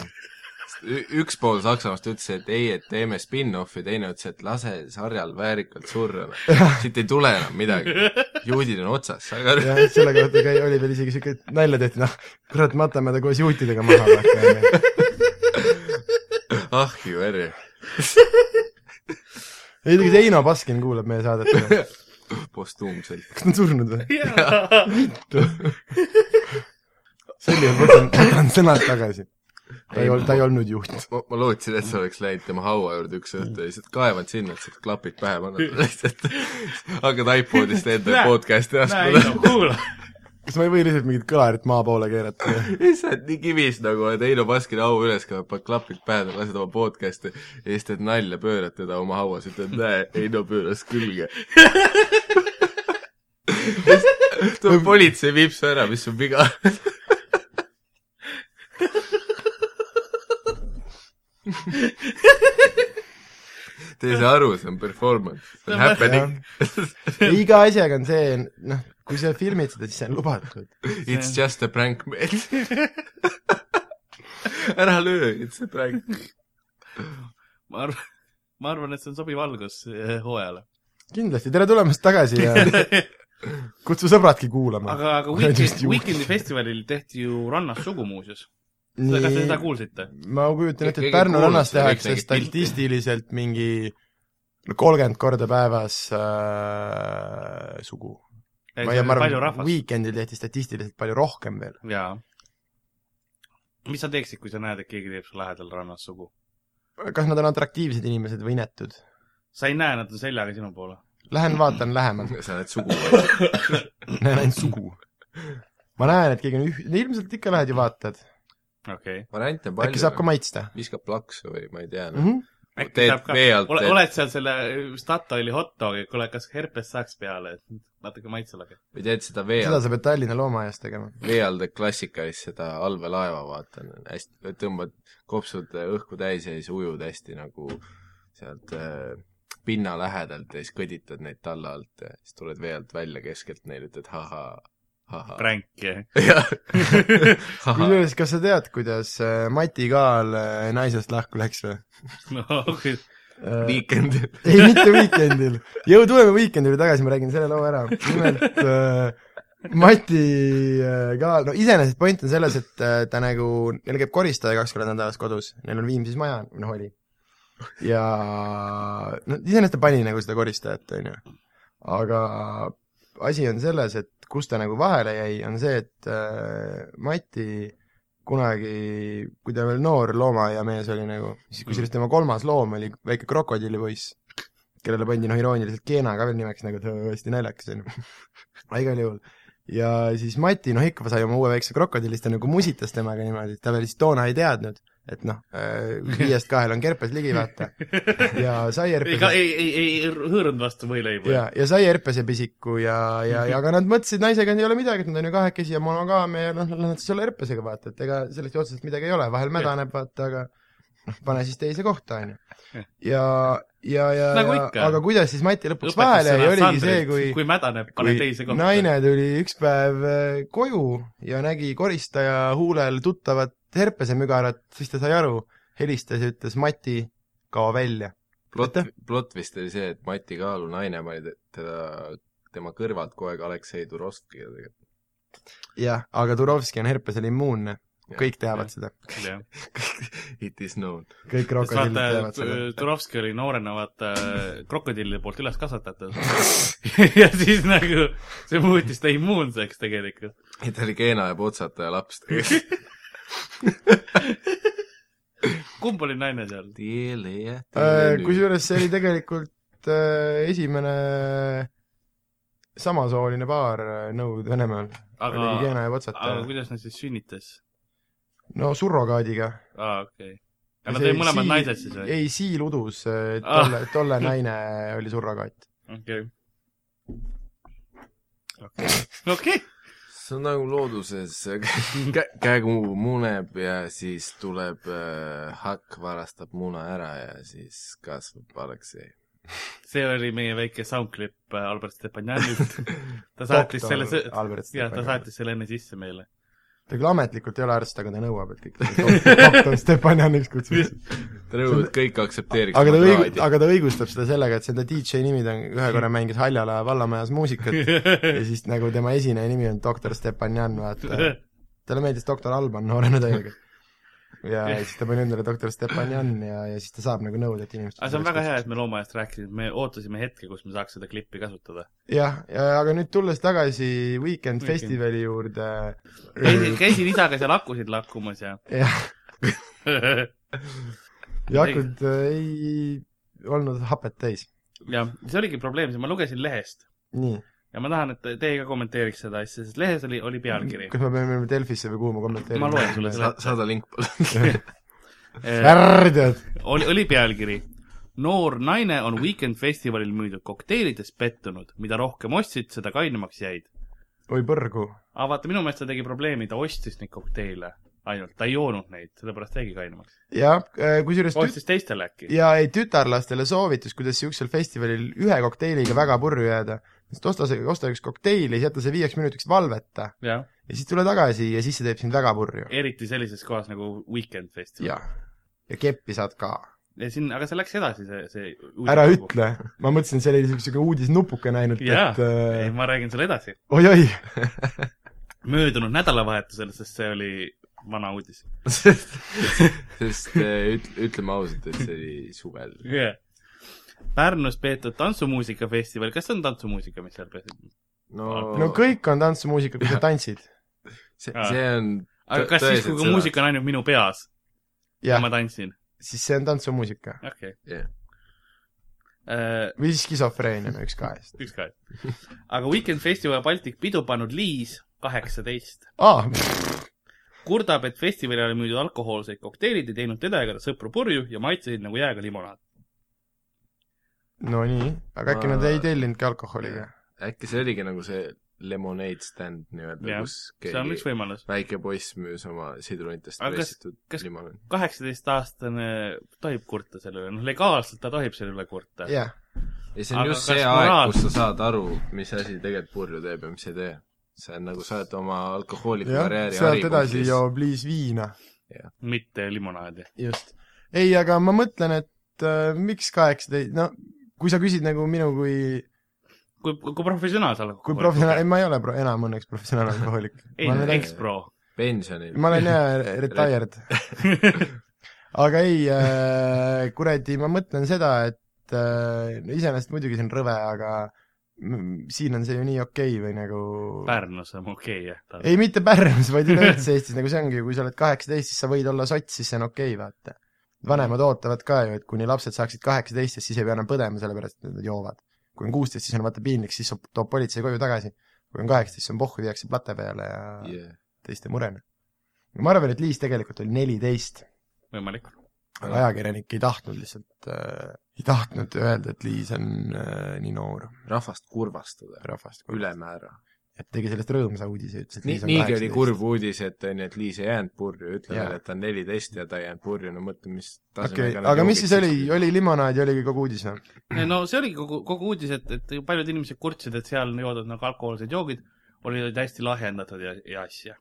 Speaker 2: üks pool Saksamaast ütles , et ei , et teeme spin-offi , teine ütles , et lase sarjal väärikalt surra . siit ei tule enam midagi . juudid on otsas , aga
Speaker 3: ja selle kohta käi- , oli veel isegi siuke nalja tehti , noh , kurat , matame ta koos juutidega maha .
Speaker 2: ah ju eri .
Speaker 3: ei tea , kas Heino Baskin kuulab meie saadet või ?
Speaker 2: postuumselt .
Speaker 3: kas ta on surnud või ?
Speaker 4: jaa .
Speaker 3: sel juhul võtan , võtan sõnad tagasi . ta ei olnud , ta ei olnud juut .
Speaker 2: ma , ma lootsin , et sa oleks läinud tema haua juurde üks õhtu ja lihtsalt kaevanud sinna , et saad klapid pähe panna . lihtsalt hakkad iPodist enda
Speaker 4: Näe,
Speaker 2: podcast'i
Speaker 4: näe ,
Speaker 2: astuma
Speaker 4: Heino , kuula .
Speaker 3: kas ma ei või lihtsalt mingit kõlarit maa poole keerata või ?
Speaker 2: issand , nii kivis nagu , et Heino Baskini haua üles kaevab , paned klapid pähe , lased oma podcast'i ja siis teed nalja , pöörad teda oma hauas , ütled näe , Heino pööras külge . tuleb politsei , viib su ära , mis sul viga on . Te ei saa aru , see on performance , see on happening ,
Speaker 3: iga asjaga on see , noh , kui sa filmid seda , siis see on lubatud .
Speaker 2: it's just a prank , ära löö , it's a prank .
Speaker 4: ma arvan , ma arvan , et see on sobiv algus eh, hooajale .
Speaker 3: kindlasti , tere tulemast tagasi ja kutsu sõbradki kuulama .
Speaker 4: aga , aga Weekend , Weekendi festivalil tehti ju rannas sugu muuseas . kas te seda kuulsite ?
Speaker 3: ma kujutan ette ,
Speaker 2: Kõik-
Speaker 3: et Pärnu
Speaker 2: kõik
Speaker 3: rannas
Speaker 2: kuulsid ja kõik
Speaker 3: tehakse
Speaker 2: nägid pilte.
Speaker 3: statistiliselt mingi kolmkümmend korda päevas äh, sugu . ma ei , ma
Speaker 4: palju
Speaker 3: arvan ,
Speaker 4: rahvast .
Speaker 3: Weekendil tehti statistiliselt palju rohkem veel .
Speaker 4: jaa . mis sa teeksid , kui sa näed , et keegi teeb su lähedal rannas sugu ?
Speaker 3: kas nad on atraktiivsed inimesed või inetud ?
Speaker 4: sa ei näe , nad on seljaga sinu poole .
Speaker 3: Lähen vaatan lähemalt ,
Speaker 2: sa oled suguvõsa .
Speaker 3: näen ainult sugu . ma näen , et keegi on üh- , ilmselt ikka lähed ja vaatad ,
Speaker 4: okei okay. .
Speaker 2: variante on palju .
Speaker 3: äkki saab ka maitsta
Speaker 2: viskab plaksu või ma ei tea
Speaker 3: mm .
Speaker 2: mm .
Speaker 3: -hmm.
Speaker 2: -hmm.
Speaker 4: Äkki
Speaker 2: teed
Speaker 4: saab ka-
Speaker 2: vee alt ,
Speaker 4: ole ,
Speaker 2: teed ,
Speaker 4: oled seal selle äh, Statoili hot dogi , kuule , kas herpes saaks peale , et natuke maitselage .
Speaker 2: või teed seda vee
Speaker 3: seda
Speaker 2: alt ,
Speaker 3: sa pead Tallinna loomaaias tegema .
Speaker 2: vee all teed klassikalist seda allveelaeva , vaata , hästi , tõmbad kopsud õhku täis ja siis ujud hästi nagu sealt äh, pinna lähedalt ja siis kõditad neid talla alt ja siis tuled vee alt välja keskelt neile , ütled ha-ha , ha-ha .
Speaker 4: pränk , jah .
Speaker 3: kusjuures , kas sa tead , kuidas äh, Mati Kaal äh, naisest lahku läks või ?
Speaker 4: no kui-
Speaker 2: Weekend .
Speaker 3: ei , mitte Weekendil . jõu , tuleme Weekendile tagasi , ma räägin selle loo ära . nimelt äh, Mati äh, Kaal , no iseenesest point on selles , et äh, ta nagu , neil käib koristaja kaks korda nädalas kodus , neil on Viimsis maja , noh oli . ja no iseenesest ta pani nagu seda koristajat , on ju . aga asi on selles , et kus ta nagu vahele jäi , on see , et äh, Mati kunagi , kui ta veel noor loomaaiamees oli nagu , siis kusjuures tema kolmas loom oli väike krokodillipoiss , kellele pandi noh , irooniliselt Keena ka veel nimeks nagu , et öö, hästi naljakas on ju . aga igal juhul . ja siis Mati , noh ikka sai oma uue väikse krokodilli , siis ta nagu musitas temaga niimoodi , ta veel siis toona ei teadnud , et noh , viiest kahel on kerpes ligi , vaata . ja sai
Speaker 4: ei ,
Speaker 3: herpes
Speaker 4: ei , ei , ei hõõrunud vastu võileibu .
Speaker 3: ja , ja sai herpesepisiku ja , ja ,
Speaker 4: Mhm.
Speaker 3: ja aga nad mõtlesid , naisega ei ole midagi , et nad on ju kahekesi ja monogaamia ja noh , nad siis ei ole herpesega , vaata , et ega sellest ju otseselt midagi ei ole , vahel mädaneb , vaata , aga noh , pane siis teise kohta , on ju . ja , ja , ja ,
Speaker 4: Nagu
Speaker 3: ja
Speaker 4: ikka.
Speaker 3: aga kuidas siis Mati lõpuks vahele jäi , oligi see , kui
Speaker 4: kui mädaneb , pane teise
Speaker 3: kui
Speaker 4: kohta .
Speaker 3: naine tuli üks päev äh, koju ja nägi koristaja huulel tuttavat herpesemügarat , siis ta sai aru , helistas ja ütles , Mati , kao välja .
Speaker 2: plott
Speaker 3: Aitäh. ,
Speaker 2: plott vist oli see , et Mati Kaalu naine pani te- teda , tema kõrvalt kogu aeg Aleksei Turovskiga tegelikult .
Speaker 3: jah , aga Turovski on herpesele immuunne . kõik teavad seda ,
Speaker 4: jah .
Speaker 2: It is known .
Speaker 3: kõik
Speaker 4: sest
Speaker 3: krokodillid
Speaker 4: vaata äh,
Speaker 3: teavad seda ., Äh,
Speaker 4: Turovski oli noorena vaata krokodillide poolt üles kasvatatud ja siis nagu see muutis ta immuunseks tegelikult .
Speaker 2: ei , ta oli Keena ja Putsataja laps .
Speaker 4: kumb oli naine seal ?
Speaker 3: Äh, kusjuures see oli tegelikult äh, esimene samasooline paar äh, Nõukogude-Venemaal ,
Speaker 4: aga
Speaker 3: oligi , Keena ja
Speaker 4: aga
Speaker 3: Patsataja .
Speaker 4: kuidas nad siis sünnitas ?
Speaker 3: no surrogaadiga .
Speaker 4: aa , okei . aga nad olid mõlemad naised siis või ?
Speaker 3: ei , Siil udus ,
Speaker 4: Ah.
Speaker 3: tolle , tolle naine oli surrogaat .
Speaker 4: okei . okei .
Speaker 2: see on nagu looduses , kägu muneb ja siis tuleb äh, hakk , varastab muna ära ja siis kasvab Aleksei .
Speaker 4: see oli meie väike soundclip äh, Albert Stepanjanilt . ta saatis selle ,
Speaker 3: Albert
Speaker 4: jah , ta
Speaker 3: Stepanjan .
Speaker 4: saatis selle enne sisse meile .
Speaker 3: ta küll ametlikult ei ole arst , aga ta nõuab , et kõik doktor Stepanjaniks kutsuks .
Speaker 2: ta nõuab , et kõik aktsepteeriks
Speaker 3: aga ta õig- ,
Speaker 2: aga...
Speaker 3: aga ta õigustab seda sellega , et see on ta DJ nimi , ta on ühe korra mängis Haljala vallamajas muusikat ja siis nagu tema esineja nimi on doktor Stepanjan , vaata . talle meeldis doktor Alban noorena täiega . ja siis ta pani endale doktor Stepanjan ja , ja siis ta saab nagu nõuda , et inimesed
Speaker 4: aga see on väga hea , et me loomaaiast rääkisime , me ootasime hetke , kus me saaks seda klippi kasutada .
Speaker 3: jah , aga nüüd tulles tagasi Weekend festivali juurde ,
Speaker 4: käisin , käisin isaga seal akusid lakkumas ja
Speaker 3: jah , Jakud äh, ei olnud hapet täis .
Speaker 4: ja see oligi probleem , ma lugesin lehest
Speaker 3: nii ,
Speaker 4: ja ma tahan , et te- teie ka kommenteeriks seda asja , sest lehes oli , oli pealkiri .
Speaker 3: kas me peame minema Delfisse või kuhu ma kommenteerin ?
Speaker 4: Ma loen sulle
Speaker 2: Sa, saada link palun .
Speaker 3: ärr tead ,
Speaker 4: oli , oli pealkiri . noor naine on Weekend festivalil müüdud kokteilides pettunud , mida rohkem ostsid , seda kainemaks jäid .
Speaker 3: oi põrgu ,
Speaker 4: aga vaata , minu meelest ta tegi probleemi , ta ostis neid kokteile ainult , ta ei joonud neid , sellepärast jäigi kainemaks .
Speaker 3: jah , kusjuures tüt- ,
Speaker 4: ostis teistele äkki .
Speaker 3: ja ei , tütarlastele soovitus , kuidas siuksel festivalil ühe kokteiliga väga purju jääda . sest osta see , osta üks kokteil ja siis jäta see viieks minutiks valveta
Speaker 4: jah ,
Speaker 3: ja siis tule tagasi ja siis see teeb sind väga purju .
Speaker 4: eriti sellises kohas nagu Weekend festival .
Speaker 3: jah . ja keppi saad ka .
Speaker 4: ja siin , aga see läks edasi , see , see .
Speaker 3: ära . ütle , ma mõtlesin , see oli niisugune uudisnupukene ainult ,
Speaker 4: jaa
Speaker 3: et ,
Speaker 4: ei
Speaker 3: äh,
Speaker 4: ma räägin sulle edasi .
Speaker 3: oi-oi ,
Speaker 4: möödunud nädalavahetusel , sest see oli vana uudis
Speaker 2: sest , sest äh, üt- , ütleme ausalt , et see oli suvel .
Speaker 4: yeah. . Pärnus peetud tantsumuusikafestival , kas see on tantsumuusika , mis seal peetud ?
Speaker 2: no,
Speaker 4: Oh.
Speaker 3: no kõik on tantsumuusika , kui sa tantsid .
Speaker 2: see ,
Speaker 4: Aa.
Speaker 2: see on
Speaker 4: aga kas siis , kui ka muusika on ainult minu peas ja
Speaker 3: jah
Speaker 4: ma , tantsin ?
Speaker 3: siis see on tantsumuusika .
Speaker 4: okei Äh,
Speaker 2: Jah. .
Speaker 3: või skisofreenia , no üks kahest .
Speaker 4: üks ka . aga Weekend Festival Baltic pidu pannud Liis , kaheksateist ,
Speaker 3: aa ,
Speaker 4: kurdab , et festivalile müüdud alkohoolseid kokteilid ei teinud teda ega ta sõpru purju ja maitsesid nagu jääga limonaad .
Speaker 3: no nii , aga äkki nad ei tellinudki alkoholi või ?
Speaker 2: äkki see oligi nagu see lemonade stand nii-öelda ,
Speaker 4: Jah,
Speaker 2: kus
Speaker 4: see on üks
Speaker 2: keegi
Speaker 4: võimalus .
Speaker 2: väike poiss müüs oma sidrunitest
Speaker 4: Aga kas-
Speaker 2: pressitud
Speaker 4: kas-
Speaker 2: limonaadi .
Speaker 4: kaheksateistaastane tohib kurta selle üle , noh legaalselt ta tohib selle üle kurta .
Speaker 3: jah ,
Speaker 2: ja see on
Speaker 4: Aga
Speaker 2: just
Speaker 4: kas
Speaker 2: see aeg
Speaker 4: moraal- ,
Speaker 2: kus sa saad aru , mis asi tegelikult purju teeb ja mis ei tee . see on nagu sa oled oma alkohooliku
Speaker 3: jah ,
Speaker 2: karjääri
Speaker 3: sealt edasi . joob Liis viina
Speaker 4: mitte limonaadi .
Speaker 3: just . ei , aga ma mõtlen , et äh, miks kaheksateist , no kui sa küsid nagu minu kui ,
Speaker 4: kui , kui professionaalse alkoholi .
Speaker 3: kui professionaal , ei ma ei ole pro, enam õnneks professionaal alkohoolik .
Speaker 4: ei
Speaker 3: ma ,
Speaker 4: no
Speaker 3: olen-
Speaker 4: eks-pro .
Speaker 2: pensionil .
Speaker 3: ma olen jah retired . aga ei äh, , kuradi , ma mõtlen seda , et äh, no iseenesest muidugi see on rõve , aga m- siin on see ju nii okei okay või nagu
Speaker 4: Pärnus on okei okay, jah .
Speaker 3: ei , mitte Pärnus , vaid üleüldse Eestis , nagu see ongi ju , kui sa oled kaheksateist , siis sa võid olla sots , siis see on okei okay, , vaata .
Speaker 2: Mm.
Speaker 3: vanemad ootavad ka ju , et kuni lapsed saaksid kaheksateist , siis ei pea enam põdema , sellepärast et nad joovad . kui on kuusteist , siis on vaata piinlik , siis so- toob politsei koju tagasi . kui on kaheksateist , siis on pohhu , viiakse plate peale ja yeah.
Speaker 2: Yeah.
Speaker 3: teiste murena . ma arvan , et Liis tegelikult oli neliteist ,
Speaker 4: võimalik .
Speaker 3: aga ajakirjanik ei tahtnud lihtsalt äh, , ei tahtnud öelda , et Liis on äh, nii noor
Speaker 2: rahvast kurvastada
Speaker 3: rahvast .
Speaker 2: ülemäära .
Speaker 3: et tegi sellest rõõmsa uudise , ütles , et
Speaker 2: nii
Speaker 3: Liis , on
Speaker 2: niigi oli
Speaker 3: kaheksateist .
Speaker 2: kurb uudis , et on ju , et Liis ei jäänud purju , ütle
Speaker 3: Jaa.
Speaker 2: veel , et ta on neliteist ja ta ei jäänud purju , no mõtle , mis
Speaker 3: okei
Speaker 2: tasemega
Speaker 3: okay. , aga mis siis oli , oli limonaad ja oligi kogu uudis noh. või ?
Speaker 4: no see oligi kogu , kogu uudis , et , et paljud inimesed kurtsid , et seal on joodud nagu alkohoolsed joogid , olid hästi lahjendatud ja , ja asja .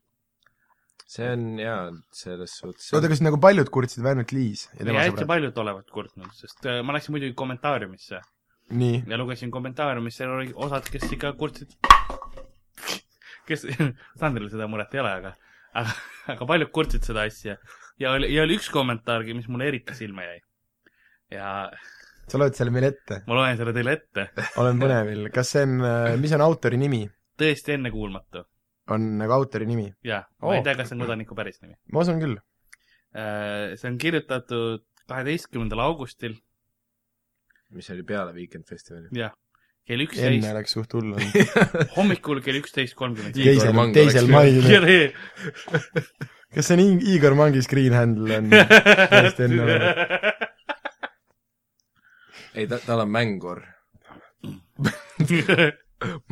Speaker 2: see on jaa , selles suhtes
Speaker 3: oota , kas nagu paljud kurtsid või ainult Liis ja
Speaker 4: ja
Speaker 3: tema
Speaker 4: hästi
Speaker 3: sõbrad ?
Speaker 4: paljud olevat kurtnud , sest äh, ma läksin muidugi kommentaariumisse
Speaker 3: nii ,
Speaker 4: ja lugesin kommentaariumisse , seal oli osad , kes ikka kurtsid . kes , Sandril seda muret ei ole , aga , aga , aga paljud kurtsid seda asja ja oli , ja oli üks kommentaargi , mis mulle eriti silma jäi . ja
Speaker 3: sa loed selle meile ette ,
Speaker 4: ma loen selle teile ette ,
Speaker 3: olen põnevil , kas see on , mis on autori nimi ,
Speaker 4: tõesti ennekuulmatu
Speaker 3: on nagu autori nimi ?
Speaker 4: ja oh. ma
Speaker 3: Oo.
Speaker 4: ei tea , kas see on kodaniku päris nagu- nimi .
Speaker 3: ma usun küll .
Speaker 4: Äh, see on kirjutatud kaheteistkümnendal augustil
Speaker 2: mis oli peale Weekend Festivali .
Speaker 4: kell
Speaker 3: enne
Speaker 4: üksteist ,
Speaker 3: oleks suht hull olnud .
Speaker 4: hommikul kell üksteist kolmkümmend viis .
Speaker 3: teisel
Speaker 2: Mango ,
Speaker 3: teisel
Speaker 2: läks
Speaker 3: mail .
Speaker 4: jere .
Speaker 3: kas see on Ing- Igor Mangi screen handle on ? Täiesti ennekuulmatu.
Speaker 2: ei , ta , tal on mängur .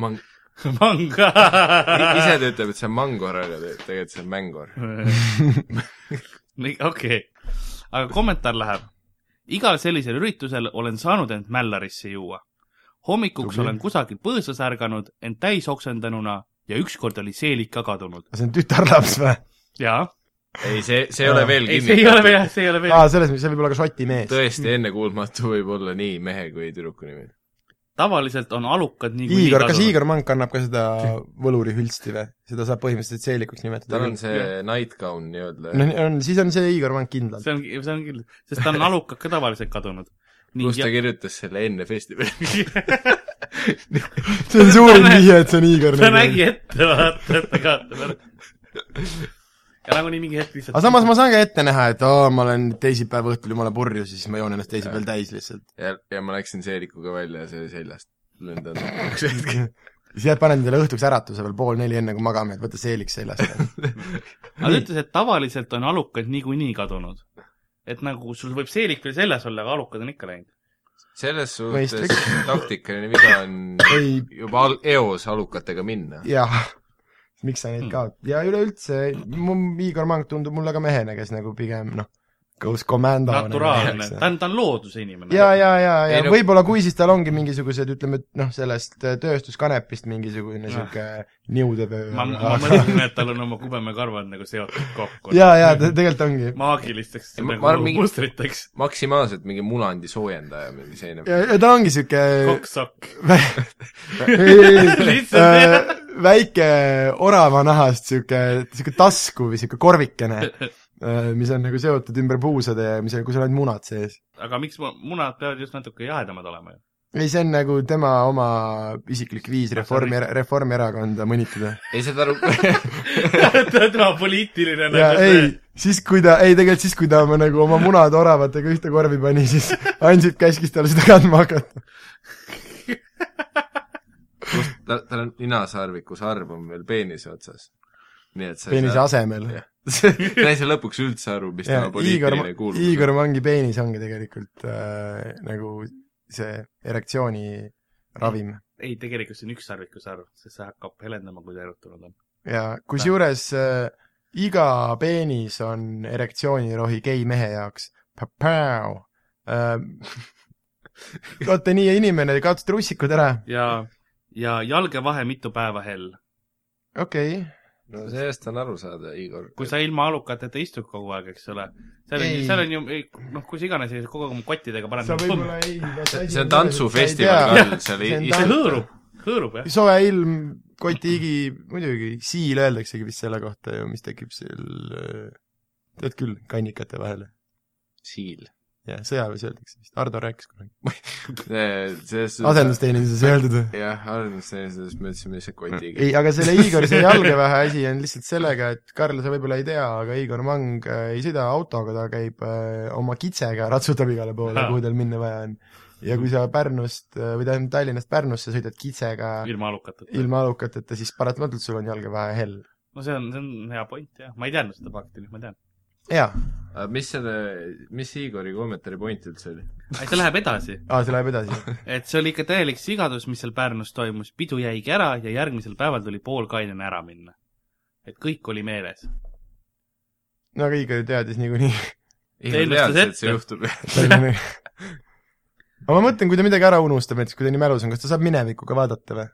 Speaker 2: Mang- ,
Speaker 4: manga .
Speaker 2: ise ta ütleb , et see on mangor , aga te- tegelikult see on mängor .
Speaker 4: Nii, okei , aga kommentaar läheb . igal sellisel üritusel olen saanud end mällarisse juua . hommikuks
Speaker 3: Tubli.
Speaker 4: Tubli. olen kusagil põõsas ärganud , end täis oksendanuna ja ükskord oli seelik ka kadunud .
Speaker 3: see on tütarlaps või ?
Speaker 4: jaa ,
Speaker 2: ei , see , see ei ole veel
Speaker 4: ei , see ei ole . veel , see ei ole veel .
Speaker 3: aa , selles mõttes , see võib olla ka šoti mees .
Speaker 2: tõesti ennekuulmatu võib olla nii mehe kui tüdruku nimi .
Speaker 4: tavaliselt on alukad niikuinii
Speaker 3: Igor , kas
Speaker 4: kadunud .
Speaker 3: Igor Mang kannab ka seda võlurihülsti või ? seda saab põhimõtteliselt seelikuks nimetada
Speaker 2: tal on
Speaker 3: küll .
Speaker 2: see nightgown nii-öelda
Speaker 4: Noh,
Speaker 3: no . on , siis on see Igor Mang kindlalt .
Speaker 4: see on , see on küll , sest ta on alukad ka tavaliselt kadunud .
Speaker 2: pluss ta kirjutas selle enne festivali .
Speaker 3: see on suurim
Speaker 4: Ta näeb-
Speaker 3: vihje , et see on Igor .
Speaker 4: ta nägi ette , vaata , et ta kaotab ära . ja nagunii mingi hetk lihtsalt .
Speaker 3: aga samas ma saan ka ette näha , et aa , ma olen teisipäeva õhtul jumala purjus ja siis ma joon ennast teisipäeval täis lihtsalt .
Speaker 2: ja , ja ma läksin seelikuga välja ja see oli seljast lendanud .
Speaker 3: siis jääd , paned endale õhtuks äratuse veel pool neli , enne kui magama jääd , võta seeliks seljast .
Speaker 4: aga ta ütles , et tavaliselt on alukad niikuinii kadunud . et nagu sul võib seelik veel seljas olla , aga alukad on ikka läinud .
Speaker 2: selles suhtes
Speaker 3: Mõistlik.
Speaker 2: taktikaline viga on
Speaker 3: ei ,
Speaker 2: juba al- , eos alukatega minna .
Speaker 3: jah , miks sa
Speaker 4: Hmm.
Speaker 3: neid kaotad ja üleüldse , mu Igor Mang tundub mulle ka mehena , kes nagu pigem noh , Ghost Commando
Speaker 4: naturaalne , ta on , ta on looduse inimene .
Speaker 3: ja , ja , ja , ja
Speaker 2: Ei, no-
Speaker 3: võib-olla kui , siis tal ongi mingisugused , ütleme , et noh , sellest äh, tööstuskanepist mingisugune niisugune niudetöö .
Speaker 4: ma , ma mõtlen , et tal on oma kubemekarvad nagu seotud kokku .
Speaker 3: ja , ja te- tegelikult ongi .
Speaker 4: maagilisteks
Speaker 2: Ma- ma
Speaker 4: nagu
Speaker 2: arvan, mingi-
Speaker 4: mustriteks .
Speaker 2: maksimaalselt mingi munandi soojendaja mingi selline .
Speaker 3: ja , ja tal ongi niisugune
Speaker 4: kokksokk . Lihtsalt, jah.
Speaker 3: Äh, väike orava nahast sihuke , sihuke tasku või sihuke korvikene , mis on nagu seotud ümber puusade ja mis on , kus on ainult munad sees .
Speaker 4: aga miks mu- munad peavad just natuke jahedamad olema ju ?
Speaker 3: ei , see on nagu tema oma isiklik viis reformi , Reformierakonda mõnitada .
Speaker 2: ei , saad aru ,
Speaker 4: tema poliitiline
Speaker 3: ja
Speaker 4: nagu
Speaker 3: ei , siis kui ta , ei tegelikult siis , kui ta oma nagu oma munad oravatega ühte korvi pani , siis Ansip käskis talle seda kandma hakata .
Speaker 2: tal ta tal on ninasarviku sarv on veel peenise otsas . nii et sa ei
Speaker 3: peenise
Speaker 2: saa ,
Speaker 3: asemel .
Speaker 2: sa ei saa lõpuks üldse aru , mis tema
Speaker 3: Igor
Speaker 2: poliitiline , kuuluvus
Speaker 3: Igor
Speaker 2: on .
Speaker 3: Mangi peenis ongi tegelikult äh, nagu see erektsiooni ravim
Speaker 4: ei , tegelikult see on üks sarvikusarv , sest see hakkab helendama , kui ta erutunud on .
Speaker 3: ja kusjuures äh, iga peenis on erektsioonirohi gei mehe jaoks . Äh, olete nii inimene , kaotate russikud ära ,
Speaker 4: ja , ja jalge vahe mitu päeva hell .
Speaker 3: okei okay. .
Speaker 2: no sellest on aru saada , Igor .
Speaker 4: kui sa ilma alukateta istud kogu aeg , eks ole . seal on
Speaker 3: Ei. ,
Speaker 4: seal on ju , noh , kus iganes , kogu aeg oma kottidega paned . noh,
Speaker 3: sa võib-olla
Speaker 4: see
Speaker 3: ei .
Speaker 2: see on tantsufestival , Karl , seal
Speaker 3: See on
Speaker 2: ei
Speaker 3: tants-
Speaker 4: hõõrub , hõõrub jah .
Speaker 3: soe ilm , kotihigi , muidugi , siil öeldaksegi vist selle kohta ju , mis tekib seal , tead küll , kannikate vahele .
Speaker 2: siil .
Speaker 3: jah , sõjaväes öeldakse vist , Ardo rääkis kunagi .
Speaker 2: selles suhtes ,
Speaker 3: asendusteenistuses ei öeldud või ?
Speaker 2: jah , asendusteenistuses me ütlesime lihtsalt kotiga .
Speaker 3: ei , aga selle Igori see jalgevähe asi on lihtsalt sellega , et Karl , sa võib-olla ei tea , aga Igor Mang äh, ei sõida autoga , ta käib äh, oma kitsega , ratsutab igale poole , kuhu tal minna vaja on . ja kui sa Pärnust äh, või tähendab Tallinnast Pärnusse sõidad kitsega
Speaker 4: ilma alukateta .
Speaker 3: ilma alukateta , siis paratamatult sul on jalgeväe hell .
Speaker 4: no see on , see on hea point jah , ma ei teadnud seda fakti , nüüd ma tean .
Speaker 3: jaa ,
Speaker 2: aga mis selle , mis Igori kommentaari point üldse oli ?
Speaker 4: see läheb edasi ,
Speaker 3: aa , see läheb edasi .
Speaker 4: et see oli ikka täielik sigadus , mis seal Pärnus toimus , pidu jäigi ära ja järgmisel päeval tuli poolkainena ära minna . et kõik oli meeles .
Speaker 3: no aga Igor ju teadis niikuinii .
Speaker 2: Igor
Speaker 4: ennustas
Speaker 2: teadis , et
Speaker 4: ette.
Speaker 2: see juhtub .
Speaker 3: aga ma mõtlen , kui ta midagi ära unustab , näiteks kui ta nii mälus on , kas ta saab minevikuga vaadata või ?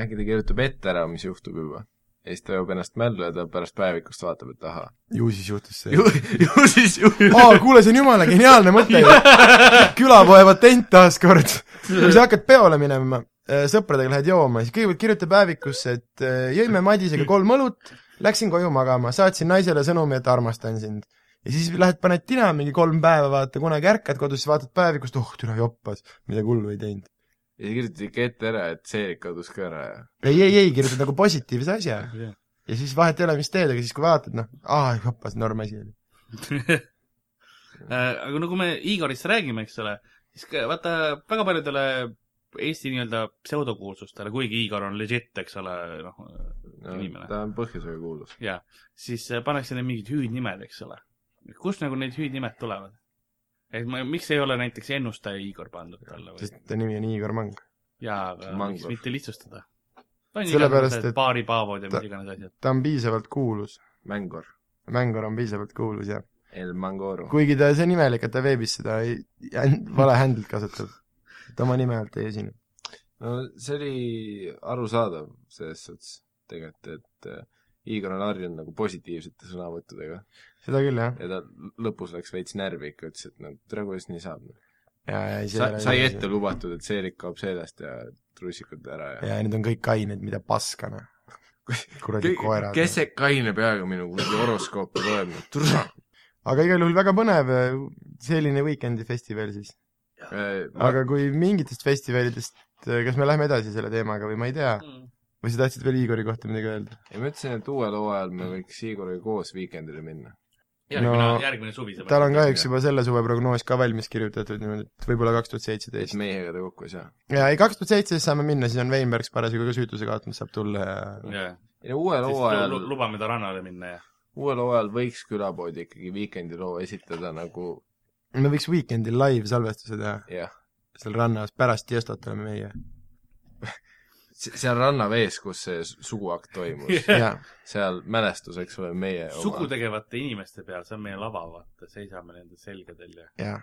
Speaker 2: äkki ta kirjutab ette ära , mis juhtub juba . ja siis ta joob ennast mällu ja ta pärast päevikust vaatab , et ahaa .
Speaker 3: ju siis juhtus see .
Speaker 2: ju , ju siis ju .
Speaker 3: aa , kuule , see on jumala geniaalne mõte ju . külapoe patent taaskord . kui sa hakkad peole minema , äh, sõpradega lähed jooma , siis kõigepealt kirjuta päevikusse , et äh, jõime Madisega kolm õlut , läksin koju magama , saatsin naisele sõnumi , et armastan sind . ja siis lähed , paned tina mingi kolm päeva , vaata , kunagi ärkad kodus , siis vaatad päevikust , oh türa joppas , midagi hullu ei teinud .
Speaker 2: ja siis kirjutati ikka ette ära , et see kadus ka ära ja
Speaker 3: ei , ei , ei , kirjutad nagu positiivse asja ja siis vahet ei ole , mis teed , aga siis kui vaatad , noh , aa , joppas , norm asi oli .
Speaker 4: Äh, aga no kui me Igorist räägime , eks ole , siis ka- vaata väga paljudele Eesti nii-öelda pseudokuulsustele , kuigi Igor on legit , eks ole , noh ,
Speaker 2: no,
Speaker 4: Inimene.
Speaker 2: ta on põhjusega kuulus .
Speaker 4: jaa , siis äh, pannakse neile mingid hüüdnimed , eks ole . kust nagu need hüüdnimed tulevad ? et ma , miks ei ole näiteks ennustaja Igor pandud talle või ?
Speaker 3: sest ta nimi on Igor Mang .
Speaker 4: jaa , aga
Speaker 2: Mango.
Speaker 4: miks mitte lihtsustada ?
Speaker 3: Sellepärast, et-
Speaker 4: paari paavod ja
Speaker 3: ta-
Speaker 4: mis iganes asjad .
Speaker 3: ta on piisavalt kuulus ,
Speaker 2: Mängor .
Speaker 3: Mängor on piisavalt kuulus ja
Speaker 2: El Mangoro .
Speaker 3: kuigi ta , see on imelik , et ta veebis seda ei, hän- vale händlit kasutab . ta oma nime alt ei esine .
Speaker 2: no see oli arusaadav selles suhtes tegelikult , et äh, Igor on harjunud nagu positiivsete sõnavõttudega
Speaker 3: seda küll , jah .
Speaker 2: ja ta lõpus läks veits närvi ikka , ütles , et no tere , kuidas nii saab .
Speaker 3: ja , ja ei
Speaker 2: sa , sai ette . lubatud , et seelik kaob seljast ja trussikud ära ja,
Speaker 3: ja need on kõik kained , mida paskana . kuradi
Speaker 2: ja.
Speaker 3: koerad .
Speaker 2: kes see kaine peaga minu kuradi horoskoopi loeb , türa .
Speaker 3: aga igal juhul väga põnev , selline Weekend'i festival siis . aga kui mingitest festivalidest , kas me lähme edasi selle teemaga või ma ei tea , või sa tahtsid veel Igori kohta midagi öelda ?
Speaker 2: ja ma ütlesin , et uuel hooajal me võiks Igoriga koos Weekendile minna .
Speaker 4: järgmine
Speaker 3: No-
Speaker 4: no, , järgmine suvi see
Speaker 3: tal on kahjuks juba selle suve prognoos ka valmis kirjutatud niimoodi , et võib-olla kaks tuhat
Speaker 2: et
Speaker 3: seitseteist .
Speaker 2: meiega ta kokku ei saa .
Speaker 3: ja ei , kaks tuhat seitseteist saame minna , siis on Veinbergs parasjagu ka süütuse kaotamas saab tulla ja
Speaker 4: jah ,
Speaker 2: ei no uuel
Speaker 4: siis
Speaker 2: hooajal
Speaker 4: lu- , lubame ta rannale minna ja .
Speaker 2: uuel hooajal võiks külapoodi ikkagi Weekendi loo esitada nagu
Speaker 3: me võiks Weekendil live-salvestuse teha
Speaker 2: jah ,
Speaker 3: seal rannas , pärast Jestot oleme meie .
Speaker 2: seal rannavees , kus see s- suguakt toimus ,
Speaker 3: jaa ,
Speaker 2: seal mälestus , eks ole , meie
Speaker 4: sugu . tegevate inimeste peal , see on meie lava , vaata , seisame nende selgadel ja .
Speaker 3: jaa .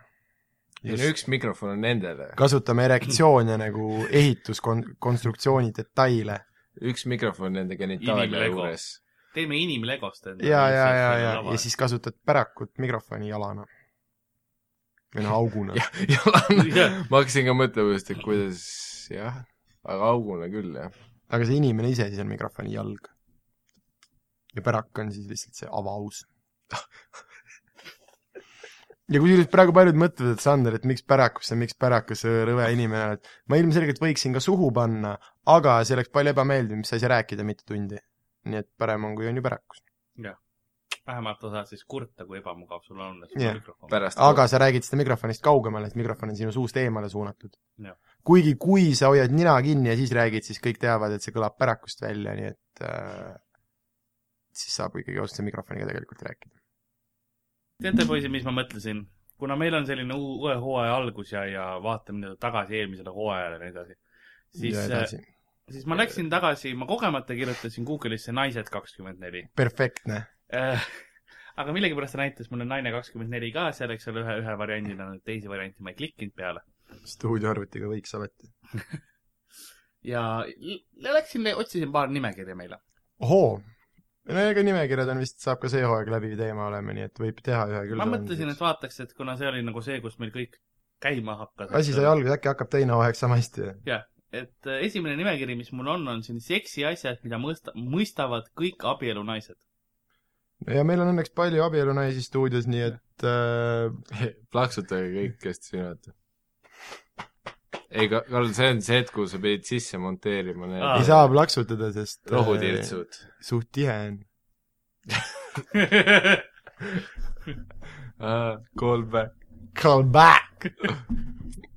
Speaker 2: ja no üks mikrofon on nendele ,
Speaker 3: kasutame erektsioone nagu ehituskon- , konstruktsiooni detaile .
Speaker 2: üks mikrofon nende genitaalia
Speaker 4: Inimlego.
Speaker 2: juures .
Speaker 4: teeme inimlegost endale .
Speaker 3: ja , ja , ja , ja , ja . siis kasutad pärakut mikrofoni jalana . või noh , auguna .
Speaker 4: Jah.
Speaker 2: ma hakkasin ka mõtlema just , et kuidas jah , aga augune küll jah .
Speaker 3: aga see inimene ise siis on mikrofoni jalg . ja pärak on siis lihtsalt see avaaus . ja kusjuures praegu paljud mõtlevad , et Sander , et miks pärakusse , miks pärakusse rõve inimene oled . ma ilmselgelt võiksin ka suhu panna , aga see oleks palju ebameeldivam , mis sa ei saa rääkida mitu tundi . nii et parem on , kui on ju pärakus .
Speaker 4: vähemalt sa saad siis kurta , kui ebamugav sul on , et sul
Speaker 3: Jah.
Speaker 4: on mikrofon .
Speaker 2: pärast
Speaker 3: aga sa räägid seda mikrofonist kaugemale , et mikrofon on sinu suust eemale suunatud
Speaker 4: Jah. .
Speaker 3: kuigi , kui sa hoiad nina kinni ja siis räägid , siis kõik teavad , et see kõlab pärakust välja , nii et äh, siis saab ikkagi otse mikrofoniga tegelikult rääkida .
Speaker 4: teate , poisid , mis ma mõtlesin ? kuna meil on selline uu- uue hooaja algus ja , ja vaatame nii-öelda tagasi eelmisele hooajale ja nii edasi , siis , äh,
Speaker 3: siis
Speaker 4: siis ma läksin tagasi , ma kogemata kirjutasin Google'isse naised kakskümmend neli .
Speaker 3: perfektne .
Speaker 4: aga millegipärast ta näitas mulle naine kakskümmend neli ka seal , eks ole , ühe , ühe variandina , teisi variante ma ei klikkinud peale .
Speaker 3: stuudioarvutiga võiks alati .
Speaker 4: ja l- läksin , otsisin paar nimekirja meile .
Speaker 3: ohoo , no ega nimekirjad on vist , saab ka see hooaeg läbi teema olema , nii et võib teha ühe küll .
Speaker 4: ma mõtlesin , et vaataks , et kuna see oli nagu see , kus meil kõik käima hakkas .
Speaker 3: asi sai . alguse , äkki hakkab teine hooaeg sama hästi .
Speaker 4: et äh, esimene nimekiri , mis mul on , on siin seksiasjad , mida mõista- , mõistavad kõik abielunaised .
Speaker 3: ja meil on õnneks palju abielunaisi stuudios , nii et äh,
Speaker 2: plaksutage kõik , kes te siin olete . ei , Karl , see on see hetk , kuhu sa pidid sisse monteerima need
Speaker 4: Aa.
Speaker 3: ei saa plaksutada , sest äh,
Speaker 2: rohutirtsud .
Speaker 3: suht tihe on .
Speaker 2: Ah, Call back .
Speaker 3: Come back !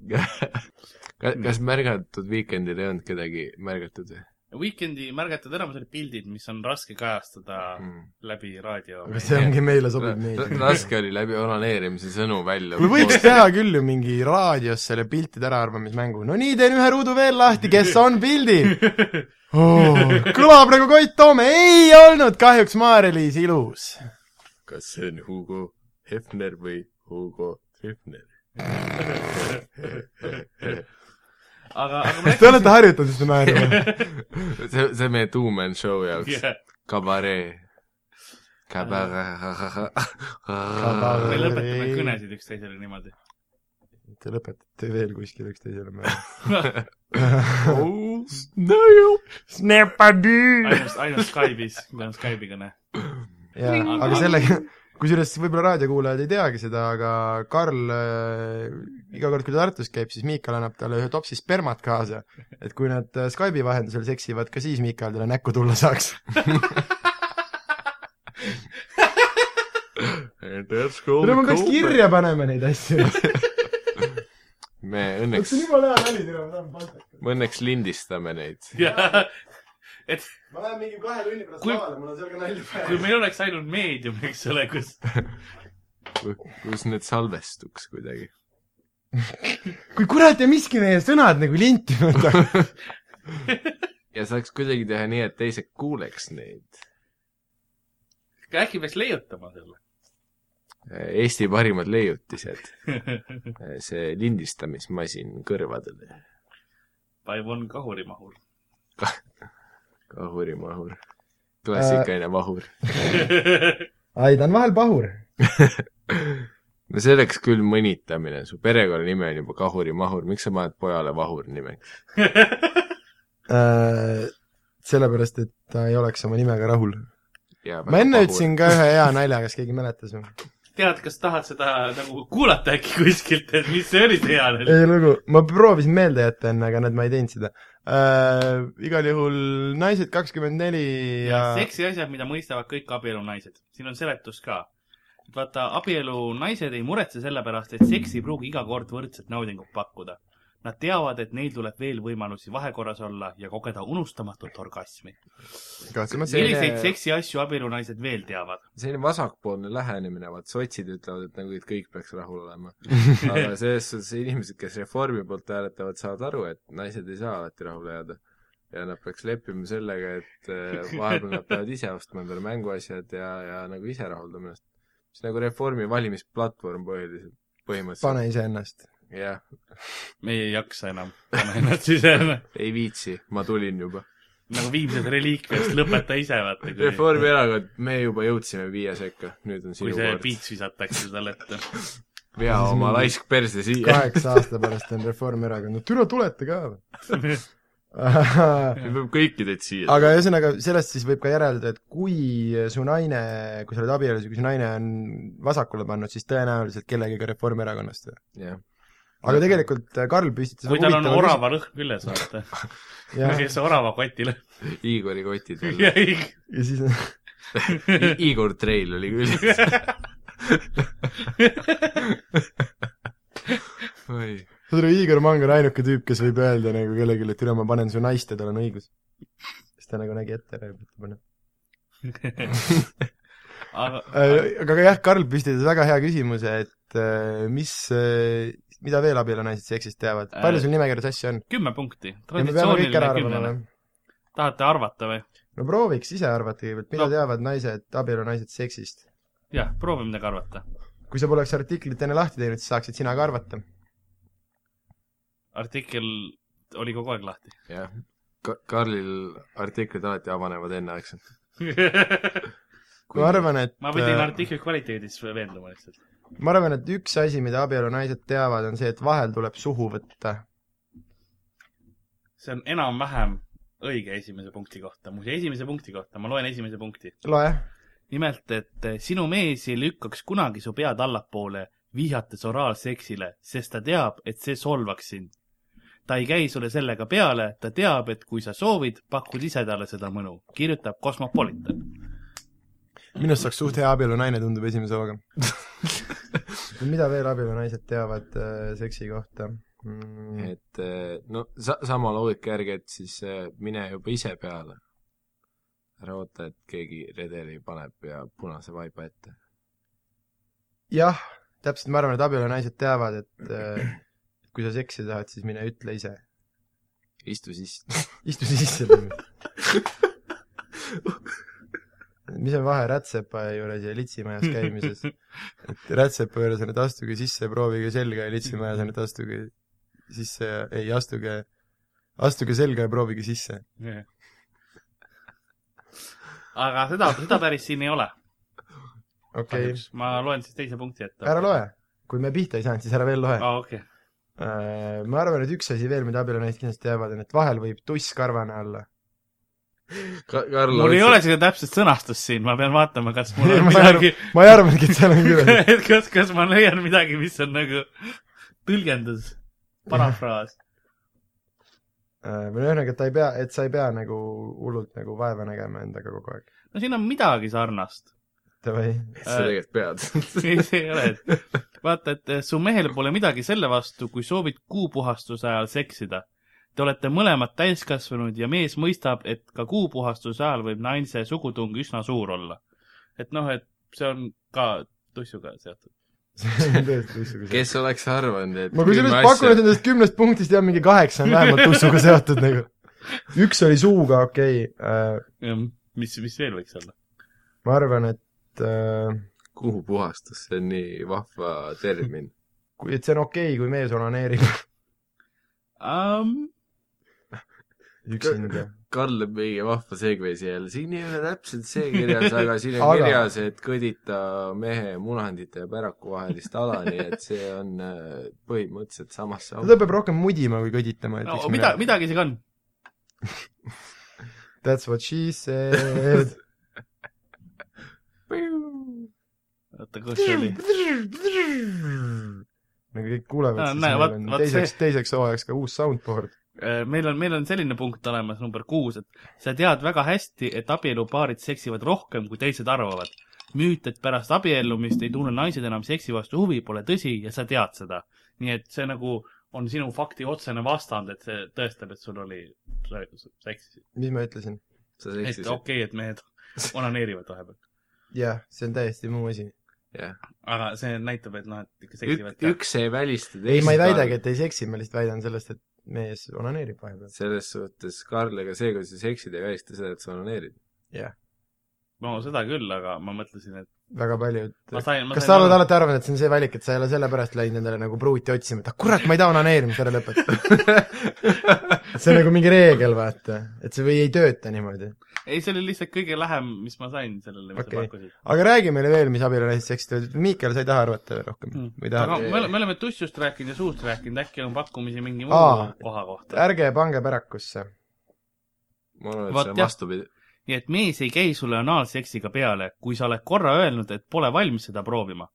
Speaker 2: kas , kas märgatud Weekendil ei olnud kedagi märgatud või
Speaker 4: Weekendi märgatud enamus olid pildid , mis on raske kajastada
Speaker 2: mm. ?
Speaker 4: läbi raadio .
Speaker 3: aga see ongi meile sobiv meedia .
Speaker 2: raske oli läbi onaneerimise sõnu välja .
Speaker 3: kuule , võiks teha küll ju mingi raadios selle piltide äraarvamismängu , no nii , teen ühe ruudu veel lahti , kes on pildil oh, ? kõlab nagu Koit Toome , ei olnud kahjuks Maarja-Liis ilus .
Speaker 2: kas see on Hugo Hefner või Hugo Trüffner ?
Speaker 4: aga , aga ma
Speaker 3: Te olete harjutanud seda naerma ?
Speaker 2: see , see on meie two-man show jaoks yeah. .
Speaker 4: läksin ,
Speaker 2: kabaree . kabaree .
Speaker 4: me lõpetame kõnesid üksteisele niimoodi .
Speaker 3: Te lõpetate veel kuskil üksteisele mööda .
Speaker 2: oh, no.
Speaker 3: Snapadi!
Speaker 4: ainult , ainult Skype'is , meil on Skype'i kõne .
Speaker 3: jaa , aga sellega , kusjuures võib-olla raadiokuulajad ei teagi seda , aga Karl äh, iga kord , kui ta Tartus käib , siis Miikal annab talle ühe topsi spermat kaasa . et kui nad äh, Skype'i vahendusel seksivad , ka siis Miikal talle näkku tulla saaks .
Speaker 2: That's cool .
Speaker 3: kuule , me peaks kirja panema neid asju .
Speaker 2: me
Speaker 3: vot
Speaker 2: õnneks
Speaker 3: see on , jumala hea nali , tere , ma tahan palka .
Speaker 2: me õnneks lindistame neid .
Speaker 4: et
Speaker 3: ma lähen mingi kahe tunni pärast
Speaker 4: Kui-
Speaker 3: lavale , mul on sellega nalja
Speaker 4: kui . meil oleks ainult meedium , eks ole , kus
Speaker 2: kus need salvestuks kuidagi .
Speaker 3: kui kurat ja miski meie sõnad nagu linti võtab .
Speaker 2: ja saaks kuidagi teha nii , et teised kuuleks neid .
Speaker 4: äkki peaks leiutama selle .
Speaker 2: Eesti parimad leiutised . see lindistamismasin kõrvadele .
Speaker 4: Paimon kahurimahur .
Speaker 2: kahurimahur . klassikaline
Speaker 3: Äh.
Speaker 2: mahur .
Speaker 3: Aidan vahel pahur .
Speaker 2: no see oleks küll mõnitamine , su perekonnanimi on juba kahurimahur , miks sa paned pojale vahur nimeks ?
Speaker 3: Äh, sellepärast , et ta ei oleks oma nimega rahul . ma
Speaker 2: ma
Speaker 3: enne ütlesin ka ühe hea nalja , kas keegi mäletas või ?
Speaker 4: tead , kas tahad seda nagu kuulata äkki kuskilt , et mis see oli see hea nali ?
Speaker 3: ei lugu , ma proovisin meelde jätta enne , aga näed , ma ei teinud seda äh, . igal juhul naised kakskümmend neli ja
Speaker 4: ja seksi asjad , mida mõistavad kõik abielunaised . siin on seletus ka . vaata , abielunaised ei muretse selle pärast , et seks ei pruugi iga kord võrdset naudingut pakkuda . Nad teavad , et neil tuleb veel võimalusi vahekorras olla ja kogeda unustamatut orgasmi .
Speaker 3: kahtlemata
Speaker 4: milliseid seksiasju abielunaised veel teavad ?
Speaker 2: selline vasakpoolne lähenemine , vaat sotsid ütlevad , et nagu et kõik peaks rahul olema . aga selles suhtes inimesed , kes reformi poolt hääletavad , saavad aru , et naised ei saa alati rahule jääda . ja nad peaks leppima sellega , et eh, vahepeal nad peavad ise ostma endale mänguasjad ja , ja nagu ise rahuldama ennast . see on nagu reformi valimisplatvorm põhiliselt , põhimõtteliselt .
Speaker 3: pane iseennast .
Speaker 2: jah ,
Speaker 4: meie ei jaksa enam . pane ennast ise ,
Speaker 2: ei viitsi , ma tulin juba .
Speaker 4: nagu viimsed reliikviast , lõpeta ise , vaata , kui ,
Speaker 2: Reformierakond , me juba jõudsime viie sekka , nüüd on
Speaker 4: kui
Speaker 2: sinu
Speaker 4: see
Speaker 2: kord .
Speaker 4: piits visatakse talle ette .
Speaker 2: vea oma laisk perse siia .
Speaker 3: kaheksa aasta pärast on Reformierakond , no türa tulete ka või ?
Speaker 2: nüüd peab kõiki teid siia .
Speaker 3: aga ühesõnaga , sellest siis võib ka järeldada , et kui su naine , kui sa oled abielus ja kui su naine on vasakule pannud , siis tõenäoliselt kellegagi Reformierakonnast .
Speaker 2: jah ,
Speaker 3: aga tegelikult äh, Karl püstitas
Speaker 4: kui tal on orava lõhn küljes , vaata .
Speaker 3: ja,
Speaker 4: kes orava kotil .
Speaker 2: Igori kotid veel .
Speaker 4: jah ,
Speaker 3: ja siis
Speaker 2: Igor Trail oli küll . oi ,
Speaker 3: saad aru , Igor Mang on ainuke tüüp , kes võib öelda nagu kellelegi , et üle ma panen su naist ja tal on õigus . siis ta nagu nägi ette ära ja pidi panema .
Speaker 4: aga
Speaker 3: Äh, aga aga jah , Karl püstitas väga hea küsimuse , et äh, mis , mida veel abielunaised seksist teavad , palju sul nimekirjas asju on ?
Speaker 4: kümme punkti .
Speaker 3: ja me peame kõik ära
Speaker 4: Äh, traditsiooniline noh.
Speaker 3: arvama
Speaker 4: kümnene
Speaker 3: või ?.
Speaker 4: tahate arvata või ?
Speaker 3: no prooviks ise arvata kõigepealt , mida
Speaker 4: No.
Speaker 3: no. teavad naised , abielunaised seksist ?
Speaker 4: jah , proovime midagi arvata .
Speaker 3: kui sa poleks artiklit enne lahti teinud , siis saaksid sina ka arvata .
Speaker 4: artikkel oli kogu aeg lahti .
Speaker 2: jah . Karlil artiklid alati avanevad enneaegselt .
Speaker 3: ma arvan , et äh,
Speaker 4: ma pidin artikli kvaliteedis veenduma lihtsalt .
Speaker 3: ma arvan , et üks asi , mida abielunaised teavad , on see , et vahel tuleb suhu võtta .
Speaker 4: see on enam-vähem õige esimese punkti kohta . muuseas , esimese punkti kohta , ma loen esimese punkti .
Speaker 3: loe .
Speaker 4: nimelt , et eh, sinu mees ei lükkaks kunagi su pead allapoole , vihjates oraalseksile , sest ta teab , et see solvaks sind . ta ei käi sulle sellega peale , ta teab , et kui sa soovid , pakud ise talle seda mõnu , kirjutab Cosmopolitan .
Speaker 3: minu arust saaks suht hea abielunaine , tundub esimese hooga . mida veel abielunaised teavad äh, seksi kohta mm, ?
Speaker 2: et eh, no sa- , sama loogika järgi , et siis eh, mine juba ise peale . ära oota , et keegi redeli paneb ja punase vaiba ette .
Speaker 3: jah , täpselt , ma arvan , et abielunaised teavad , et äh, kui sa seksi tahad , siis mine ütle ise .
Speaker 2: istu siis .
Speaker 3: istu sisse . mis on vahe rätsepa juures ja litsimajas käimises ? et rätsepa juures on , et astuge sisse , proovige selga ja litsimajas on , et astuge sisse ja ei , astuge , astuge selga ja proovige sisse .
Speaker 4: aga seda , seda päris siin ei ole .
Speaker 3: okei okay. ,
Speaker 4: ma loen siis teise punkti ette .
Speaker 3: ära loe . kui me pihta ei saanud , siis ära veel loe .
Speaker 4: aa , okei .
Speaker 3: ma arvan , et üks asi veel , mida abielunaised kindlasti teavad , on , et vahel võib tuss karvane olla .
Speaker 2: Ka- , Karl
Speaker 4: mul ei ole seda täpset sõnastust siin , ma pean vaatama , kas mul on
Speaker 3: ma ei arva
Speaker 4: midagi ,
Speaker 3: ma ei arvanudki , et seal on kirjas .
Speaker 4: et kas , kas ma leian midagi , mis on nagu tõlgendus , parafraas .
Speaker 3: Äh, või no ühesõnaga , et ta ei pea , et sa ei pea nagu hullult nagu vaeva nägema endaga kogu aeg .
Speaker 4: no siin on midagi sarnast .
Speaker 3: Davai .
Speaker 2: sa tegelikult pead .
Speaker 4: ei , see ei ole , et vaata , et eh, su mehel pole midagi selle vastu , kui soovid kuupuhastuse ajal seksida . Te olete mõlemad täiskasvanud ja mees mõistab , et ka kuupuhastuse ajal võib naise sugutung üsna suur olla . et noh , et see on ka tussuga seotud .
Speaker 3: see on tõesti tussiga seotud .
Speaker 2: kes oleks arvanud , et
Speaker 3: ma kusjuures pakun , et nendest kümnest punktist jah , mingi kaheksa on vähemalt tussuga seotud nagu . üks oli suuga , okei okay. .
Speaker 4: mis , mis veel võiks olla ?
Speaker 3: ma arvan , et äh,
Speaker 2: kuhu puhastus , see on nii vahva termin .
Speaker 3: kui , et see on okei okay, , kui mees onaneerib
Speaker 4: Um,
Speaker 3: üksinda .
Speaker 2: Karl lõi mingi vahva segway siia jälle , siin ei ole täpselt see kirjas , aga siin on
Speaker 3: Aga-
Speaker 2: kirjas , et kõdita mehe munandite ja päraku vahelist ala , nii et see on äh, põhimõtteliselt samasse
Speaker 3: ta peab rohkem mudima kui kõditama ,
Speaker 4: no
Speaker 3: ütleks
Speaker 4: mida , midagi see ka on .
Speaker 3: That's what she said .
Speaker 4: oota , kus see oli ?
Speaker 3: nagu kõik kuulevad no, , siis
Speaker 4: Aa, Ah, näe,
Speaker 3: meil
Speaker 4: vaat-
Speaker 3: on
Speaker 4: vaat
Speaker 3: teiseks , teiseks hooajaks ka uus soundboard .
Speaker 4: Äh, meil on , meil on selline punkt olemas , number kuus , et sa tead väga hästi , et abielupaarid seksivad rohkem , kui teised arvavad . müüt , et pärast abiellumist ei tunne naised enam seksi vastu huvi , pole tõsi ja sa tead seda . nii et see nagu on sinu fakti otsene vastand , et see tõestab , et sul oli sa- sa- seks .
Speaker 3: mis ma ütlesin ?
Speaker 2: sa
Speaker 4: et okei
Speaker 2: seksisid okay. ,
Speaker 4: okay, , et mehed onaneerivad vahepeal .
Speaker 3: jah , see on täiesti muu asi .
Speaker 4: aga see näitab , et noh , et ikka
Speaker 2: Ük,
Speaker 4: seksivad .
Speaker 2: üks ei välista teist .
Speaker 3: ei , ma ei väidagi , et ei seksi , ma lihtsalt väidan sellest , et mees onaneerib vahepeal .
Speaker 2: selles suhtes , Karl , ega see , kui sa seksid , ei välista seda , et sa onaneerid .
Speaker 4: no seda küll , aga ma mõtlesin , et
Speaker 3: väga paljud .
Speaker 4: ma sain , ma
Speaker 3: kas sa
Speaker 4: sain
Speaker 3: oled , alati arvanud , et see on see valik , et sa ei ole sellepärast läinud endale nagu pruuti otsima , et ah kurat , ma ei taha onaneerimist ära lõpetada . see on nagu mingi reegel , vaata . et see või ei tööta niimoodi .
Speaker 4: ei , see oli lihtsalt kõige lähem , mis ma sain sellele , mis sa
Speaker 3: Okei.
Speaker 4: pakkusid .
Speaker 3: aga räägi meile veel , mis abielunahist seksid olid . Miikel , sa ei taha arvata rohkem
Speaker 4: Mm.
Speaker 3: või
Speaker 4: aga
Speaker 3: tahad ?
Speaker 4: me oleme , me oleme tussust rääkinud ja suust rääkinud , äkki on pakkumisi mingi muu
Speaker 3: Aa.
Speaker 4: koha kohta .
Speaker 3: ärge pange pärakusse .
Speaker 2: ma arvan , et
Speaker 4: Vot
Speaker 2: see on
Speaker 4: jah.
Speaker 2: vastupidi .
Speaker 4: nii et mees ei käi sulle anaalseksiga peale , kui sa oled korra öelnud , et pole valmis seda proovima .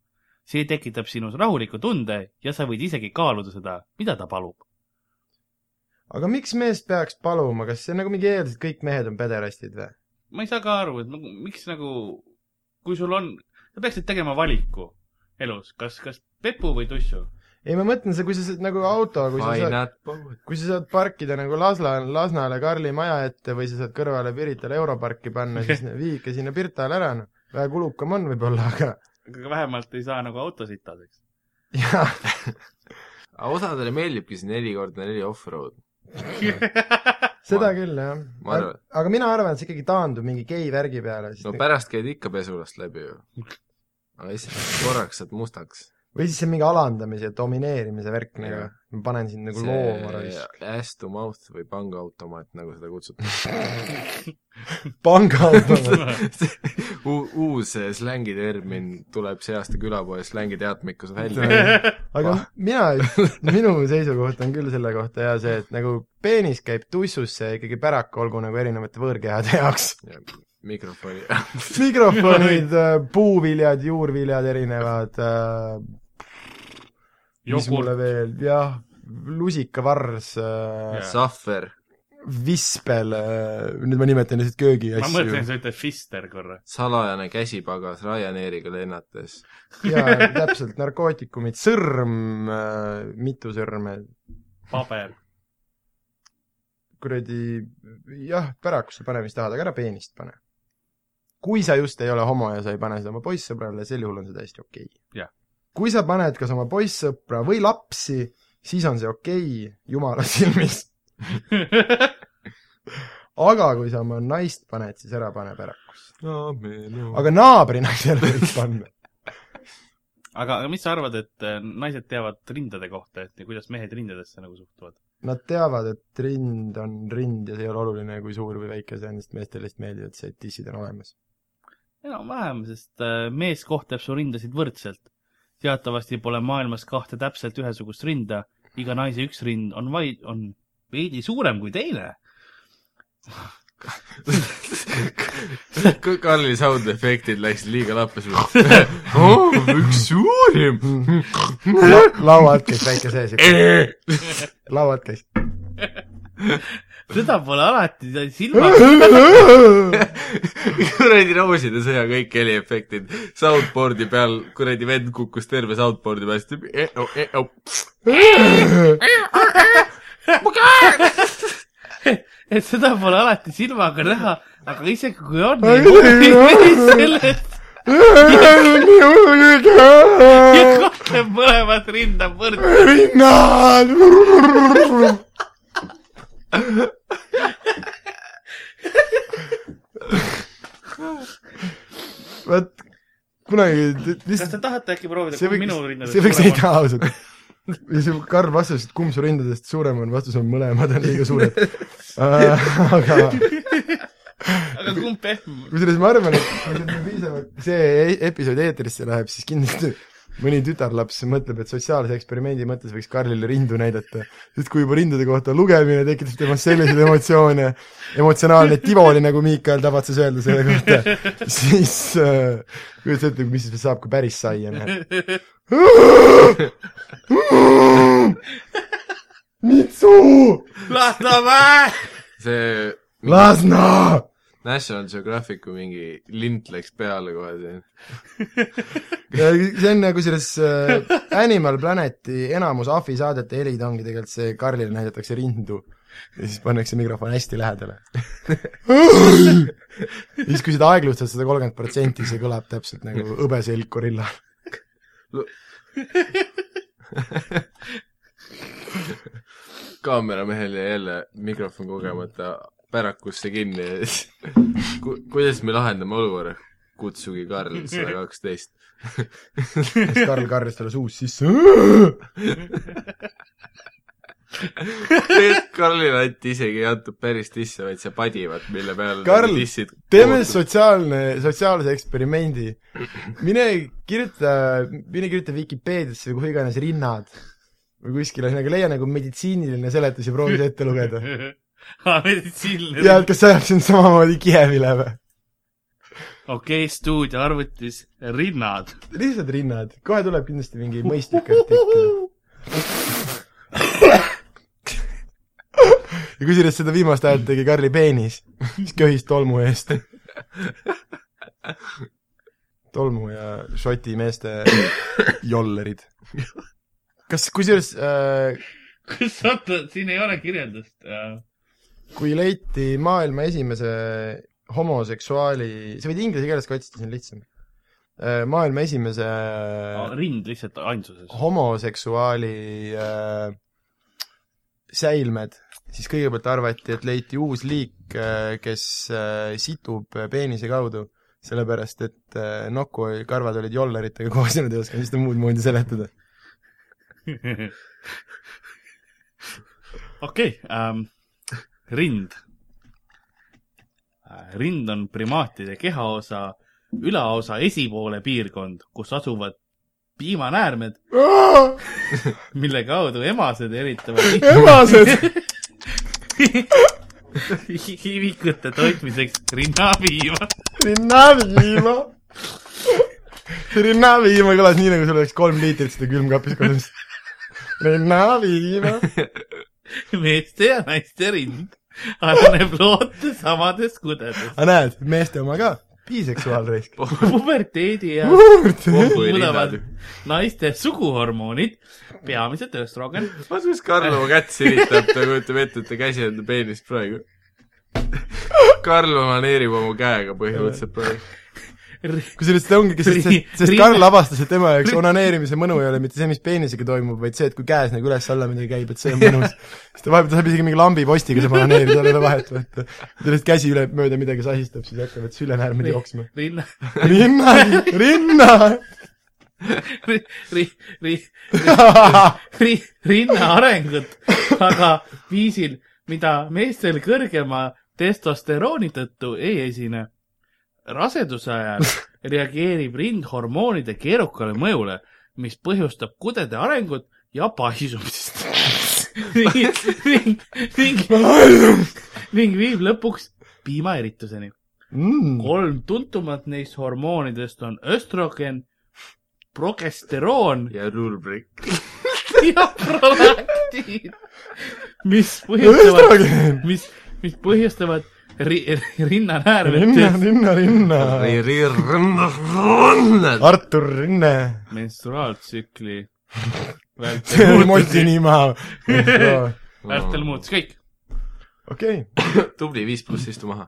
Speaker 4: see tekitab sinus rahuliku tunde ja sa võid isegi kaaluda seda , mida ta palub .
Speaker 3: aga miks mees peaks paluma , kas see on nagu mingi eeldus , et kõik mehed on pederastid või ?
Speaker 4: ma ei saa ka aru , et nagu, miks nagu , kui sul on , sa peaksid tegema valiku elus , kas , kas pepu või tussu .
Speaker 3: ei , ma mõtlen , see , kui sa saad nagu auto , kui sa
Speaker 2: Why
Speaker 3: saad ,
Speaker 2: not both ?
Speaker 3: kui sa saad parkida nagu Lasla , Lasnale Karli maja ette või sa saad kõrvale Piritale europarki panna , siis viike sinna Pirtale ära , noh . vähe kulukam on võib-olla , aga
Speaker 4: aga vähemalt ei saa nagu auto sitaseks .
Speaker 3: jaa ,
Speaker 2: aga osadele meeldibki see neli korda neli off-road .
Speaker 3: seda
Speaker 2: Ma-
Speaker 3: küll , jah .
Speaker 2: ma arvan-
Speaker 3: aga mina arvan , et see ikkagi taandub mingi gei värgi peale , sest nagu
Speaker 2: no
Speaker 3: no,
Speaker 2: pärast käid ikka pesulast läbi ju . aga esimest korraks saad mustaks .
Speaker 3: või siis see mingi alandamise ja domineerimise värk nagu
Speaker 2: Jah. .
Speaker 3: ma panen sind nagu looma raisk .
Speaker 2: ass to mouth või pangaautomaat , nagu seda kutsutakse
Speaker 3: panga automaat .
Speaker 2: U . uus eh, slängitermin tuleb see aasta külapoes slängiteatmikus välja .
Speaker 4: aga
Speaker 3: aga
Speaker 2: Vah.
Speaker 3: mina , minu seisukoht on küll selle kohta ja see , et nagu peenis käib tussusse ja ikkagi pärak olgu nagu erinevate võõrkehade jaoks .
Speaker 2: mikrofoni .
Speaker 3: mikrofonid , puuviljad , juurviljad erinevad , mis mulle veel , jah , lusikavars ,
Speaker 2: Sahver ,
Speaker 3: vispel , nüüd ma nimetan lihtsalt
Speaker 4: ma mõtlesin ,
Speaker 3: köögiasju
Speaker 4: et . sa ütled Fister korra .
Speaker 2: salajane käsipagas Ryanairiga lennates .
Speaker 3: jaa , täpselt , narkootikumid , sõrm , mitu sõrme ,
Speaker 4: paber .
Speaker 3: kuradi jah , pärakusse pane , mis tahad , aga ära peenist pane . kui sa just ei ole homo ja sa ei pane seda oma poissõbrale , sel juhul on see täiesti okei
Speaker 4: Jah.
Speaker 3: kui sa paned kas oma poissõpra või lapsi , siis on see okei jumala silmis . aga kui sa oma naist paned , siis ära pane pärakusse .
Speaker 2: aga
Speaker 3: aga naabrinaisele võid panna .
Speaker 4: aga , aga mis sa arvad , et äh, naised teavad rindade kohta , et ja kuidas mehed rindadesse nagu suhtuvad ?
Speaker 3: Nad teavad , et rind on rind ja see ei ole oluline , kui suur või väike see on , sest meestele lihtsalt meeldib , et see , et tissid on olemas .
Speaker 4: enam-vähem , sest äh, mees kohtleb su rindasid võrdselt . teatavasti pole maailmas kahte täpselt ühesugust rinda iga naise üks rind on vaid , on veidi suurem kui teine .
Speaker 2: kui Karli sound efektid läksid liiga lappi , siis oh, üks suurim .
Speaker 3: lauad käis väike sees , lauad käis .
Speaker 4: seda pole alati silmas ,
Speaker 2: kuradi rooside sõja kõik heliefektid soundboard'i peal , kuradi vend kukkus terve soundboard'i E, peal , siis ta
Speaker 4: et seda pole alati silmaga näha , aga isegi kui on , ei muutu sellest ja kohtleb mõlemat rinda võrdselt .
Speaker 3: rinnad . vot , kunagi
Speaker 4: kas
Speaker 3: lihtsalt
Speaker 4: te tahate äkki proovida ,
Speaker 3: see
Speaker 4: kui minu
Speaker 3: võiks ,
Speaker 4: rinnad
Speaker 3: see võiks nii teha ausalt . ja see Karl vastas , et kumb su rindadest suurem on , vastus on mõlemad on liiga suured . aga
Speaker 4: aga kumb pehmem on ?
Speaker 3: kusjuures ma arvan , et kui see nagu piisavalt , see e- episood eetrisse läheb , siis kindlasti mõni tütarlaps mõtleb , et sotsiaalse eksperimendi mõttes võiks Karlile rindu näidata . sest kui juba rindade kohta lugemine tekitab temas selliseid emotsioone , emotsionaalne tivoli , nagu Miikael tavatses öelda selle kohta , siis äh, kujuta ette , mis siis saab , kui päris saia näeb . Mitsu ,
Speaker 4: Lasnamäe !
Speaker 2: see
Speaker 3: Lasna ,
Speaker 2: National Geographicu mingi lint läks peale kohe siin .
Speaker 3: Ja see on kusjuures äh, Animal Planeti enamus ahvi saadete helid ongi tegelikult see , Karlile näidatakse rindu ja siis pannakse mikrofon hästi lähedale . ja siis , kui seda aeglustad sada kolmkümmend protsenti , see kõlab täpselt nagu hõbeselg gorilla .
Speaker 2: kaameramehel jäi jälle mikrofon kogemata pärakusse kinni ja siis ku, kuidas me lahendame olukorra ? kutsugi Karl sada kaksteist .
Speaker 3: ja siis Karl karjus talle suus sisse .
Speaker 2: Karlile anti isegi ei antud päris tisse , vaid see padivat , mille peal
Speaker 3: Karl,
Speaker 2: tissid
Speaker 3: teeme sotsiaalne , sotsiaalse eksperimendi . mine kirjuta , mine kirjuta Vikipeediasse või kuhu iganes rinnad või kuskile , ühesõnaga leia nagu meditsiiniline seletus ja proovi see ette lugeda . ja et
Speaker 4: meditsiiniline .
Speaker 3: kas see läheb siin samamoodi Kiievile või ?
Speaker 4: okei , stuudio arvutis rinnad .
Speaker 3: lihtsalt rinnad , kohe tuleb kindlasti mingi mõistlik artikkel . ja kusjuures seda viimast häält tegi Karli peenis , siis köhis tolmu eest . tolmu ja šoti meeste jollerid . kas , kusjuures äh,
Speaker 4: kas oota , siin ei ole kirjeldust äh, ?
Speaker 3: kui leiti maailma esimese homoseksuaali , sa võid inglise keeles ka otsida , see on lihtsam . maailma esimese Äh.
Speaker 4: oh, rind lihtsalt ainsuses .
Speaker 3: homoseksuaali äh, säilmed , siis kõigepealt arvati , et leiti uus liik äh, , kes äh, situb peenise kaudu , sellepärast et äh, noku karvad olid jolleritega koos ja nad ei osanud seda muud moodi seletada .
Speaker 4: okei ähm, , rind . rind on primaatide kehaosa ülaosa esipoole piirkond , kus asuvad piimanäärmed , mille kaudu emased eritavad
Speaker 3: emased !
Speaker 4: ivikute toitmiseks rinnapiima .
Speaker 3: rinnaviima . rinnaviima kõlas nii , nagu sul oleks kolm liitrit seda külmkapis kodus . rinnaviima .
Speaker 4: meeste ja naiste rind areneb loote samades kudedes .
Speaker 3: aga näed , meeste oma ka , biseksuaalreisk .
Speaker 4: puberteedi ja tulevad
Speaker 2: kohvirinnad .
Speaker 4: naiste suguhormoonid , peamiselt östrogen .
Speaker 2: vaata , kuidas Karl oma kätt silitab , ta kujutab ette , et ta käsi on ta peenis praegu . Karl maneerib oma käega põhimõtteliselt praegu .
Speaker 3: kusjuures seda ongi , sest ,
Speaker 4: Ri-
Speaker 3: sest, sest
Speaker 4: ri-
Speaker 3: Karl avastas , et tema jaoks onaneerimise mõnu ei ole mitte see , mis peenisega toimub , vaid see , et kui käes nagu üles-alla midagi käib , et see on mõnus . siis ta vahepeal ta saab isegi mingi lambipostiga saab onaneerida , tal ei ole vahet võtta . ta lihtsalt käsi üle , mööda midagi sahistab , siis hakkavad sülenäärmed jooksma .
Speaker 4: rinna ,
Speaker 3: rinna , rinna
Speaker 4: ri- , ri- , ri- , ri- , rinna arengut , aga viisil , mida meestel kõrgema testosterooni tõttu ei esine . raseduse ajal reageerib rind hormoonide keerukale mõjule , mis põhjustab kudede arengut ja paisumist . ning , ning , ning viib lõpuks piimaerituseni .
Speaker 3: mm. .
Speaker 4: kolm tuntumat neist hormoonidest on östrogen , progesteroon
Speaker 2: ja rulbrik .
Speaker 4: ja prolaktiin , mis põhjustavad ,
Speaker 3: östrogen ,
Speaker 4: mis , mis põhjustavad ri- , rinnanäärvetes
Speaker 3: rinna , rinna , rinna , Artur Rinne ,
Speaker 4: menstruaaltsükli
Speaker 3: see oli Oh. Moti
Speaker 4: vältel .
Speaker 3: nima .
Speaker 4: vältel muutus kõik .
Speaker 3: okei ,
Speaker 2: tubli , viis pluss , istu maha .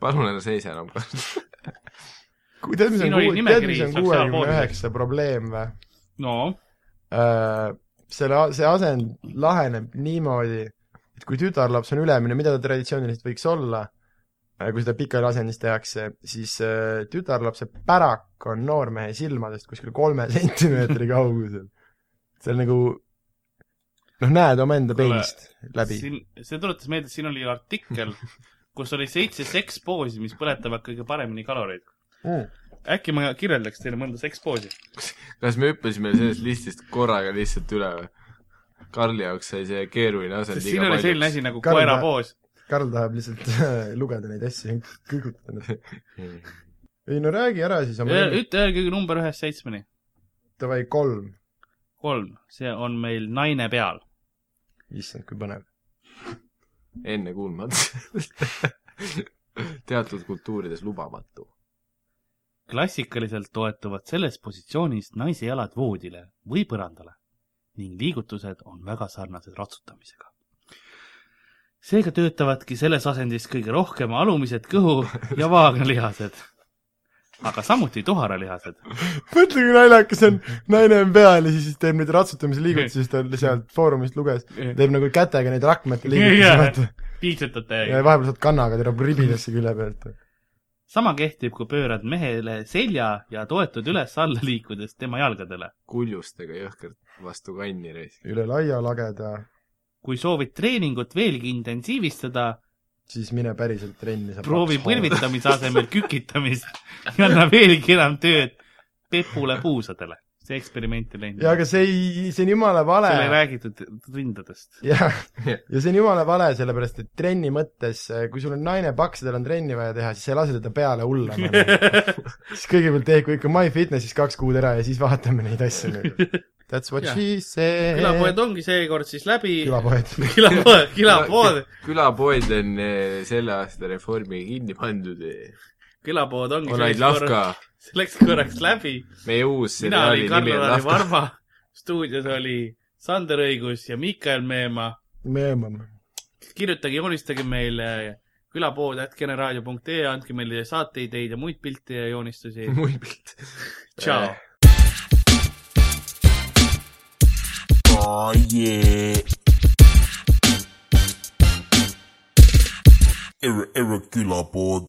Speaker 2: palun ära seisa enam .
Speaker 3: tead , mis
Speaker 4: Siin
Speaker 3: on
Speaker 4: oli
Speaker 3: kuue , tead ,
Speaker 4: nimekiri
Speaker 3: mis on kuuekümne
Speaker 4: seksuaalpoodidest.
Speaker 3: üheksa probleem või ?
Speaker 4: no ,
Speaker 3: Äh, selle , see asend laheneb niimoodi , et kui tütarlaps on ülemine , mida ta traditsiooniliselt võiks olla , kui seda pikali asendis tehakse , siis äh, tütarlapse pärak on noormehe silmadest kuskil kolme sentimeetri kaugusel . see on nagu , noh , näed omaenda
Speaker 4: Kuule,
Speaker 3: peenist läbi .
Speaker 4: siin , see tuletas meelde , siin oli artikkel , kus oli seitse sekspoosi , mis põletavad kõige paremini kaloreid .
Speaker 3: Mm.
Speaker 4: äkki ma kirjeldaks teile mõnda sekspoosi ?
Speaker 2: kas me hüppasime sellest listist korraga lihtsalt üle või ? Karli jaoks sai see keeruline asend
Speaker 4: sest siin oli selline asi nagu
Speaker 3: Karl-
Speaker 4: koerapoos .
Speaker 3: Karl tahab lihtsalt äh, lugeda neid asju , kõigutada neid .
Speaker 2: asi .
Speaker 3: ei no räägi ära siis oma ,
Speaker 4: ütle , öelge number ühest seitsmeni .
Speaker 3: davai kolm .
Speaker 4: kolm , see on meil naine peal .
Speaker 3: issand , kui põnev .
Speaker 2: ennekuulmatu . teatud kultuurides lubamatu .
Speaker 4: klassikaliselt toetuvad selles positsioonis naise jalad voodile või põrandale ning liigutused on väga sarnased ratsutamisega . seega töötavadki selles asendis kõige rohkem alumised kõhu- ja vaagnalihased , aga samuti tuharalihased .
Speaker 3: mõtle , kui naljakas on , naine on peal ja siis teeb neid ratsutamise liigutusi , siis ta sealt Foorumist luges , teeb nagu kätega neid rakmete liigutusi ,
Speaker 4: Jaa.
Speaker 3: vaata . ja
Speaker 4: piitsutate .
Speaker 3: vahepeal saad kannaga , tirab ribidesse külje pealt .
Speaker 4: sama kehtib , kui pöörad mehele selja ja toetud üles-alla liikudes tema jalgadele .
Speaker 2: kuljustega jõhkralt vastu kanni reis .
Speaker 3: üle laia lageda ,
Speaker 4: kui soovid treeningut veelgi intensiivistada ,
Speaker 3: siis mine päriselt trenni .
Speaker 4: proovi . põlvitamise asemel kükitamist ja anna veelgi enam tööd Pepule puusadele . see eksperiment ei läinud .
Speaker 3: ja aga see ei , see on jumala vale .
Speaker 4: seal ei räägitud rindadest .
Speaker 3: jah , ja see on jumala vale , sellepärast et trenni mõttes , kui sul on naine paks ja tal on trenni vaja teha , siis ei lase teda peale hullama . siis kõigepealt tehku ikka MyFitnesse'is kaks kuud ära ja siis vaatame neid asju nagu . That's what
Speaker 4: Jah.
Speaker 3: she said .
Speaker 4: külapoed ongi seekord siis läbi .
Speaker 3: külapoed .
Speaker 4: külapoed , külapood ,
Speaker 2: külapood on eh, selle aasta reformiga kinni pandud .
Speaker 4: külapood ongi
Speaker 2: Olaid Lavka ,
Speaker 4: see läks korraks läbi .
Speaker 2: meie uus
Speaker 4: mina
Speaker 2: seriaali nimi on
Speaker 4: olin Karl-Lari
Speaker 2: Lavka .
Speaker 4: Varma , stuudios oli Sander Õigus ja Miikael Meemaa .
Speaker 3: me õmbame .
Speaker 4: kirjutage , joonistage meile külapood.generaadio.ee , andke meile saateideid ja muid pilte ja joonistusi .
Speaker 2: muid pilte .
Speaker 4: tšau .
Speaker 1: Oh yeah. Ir- irregular board.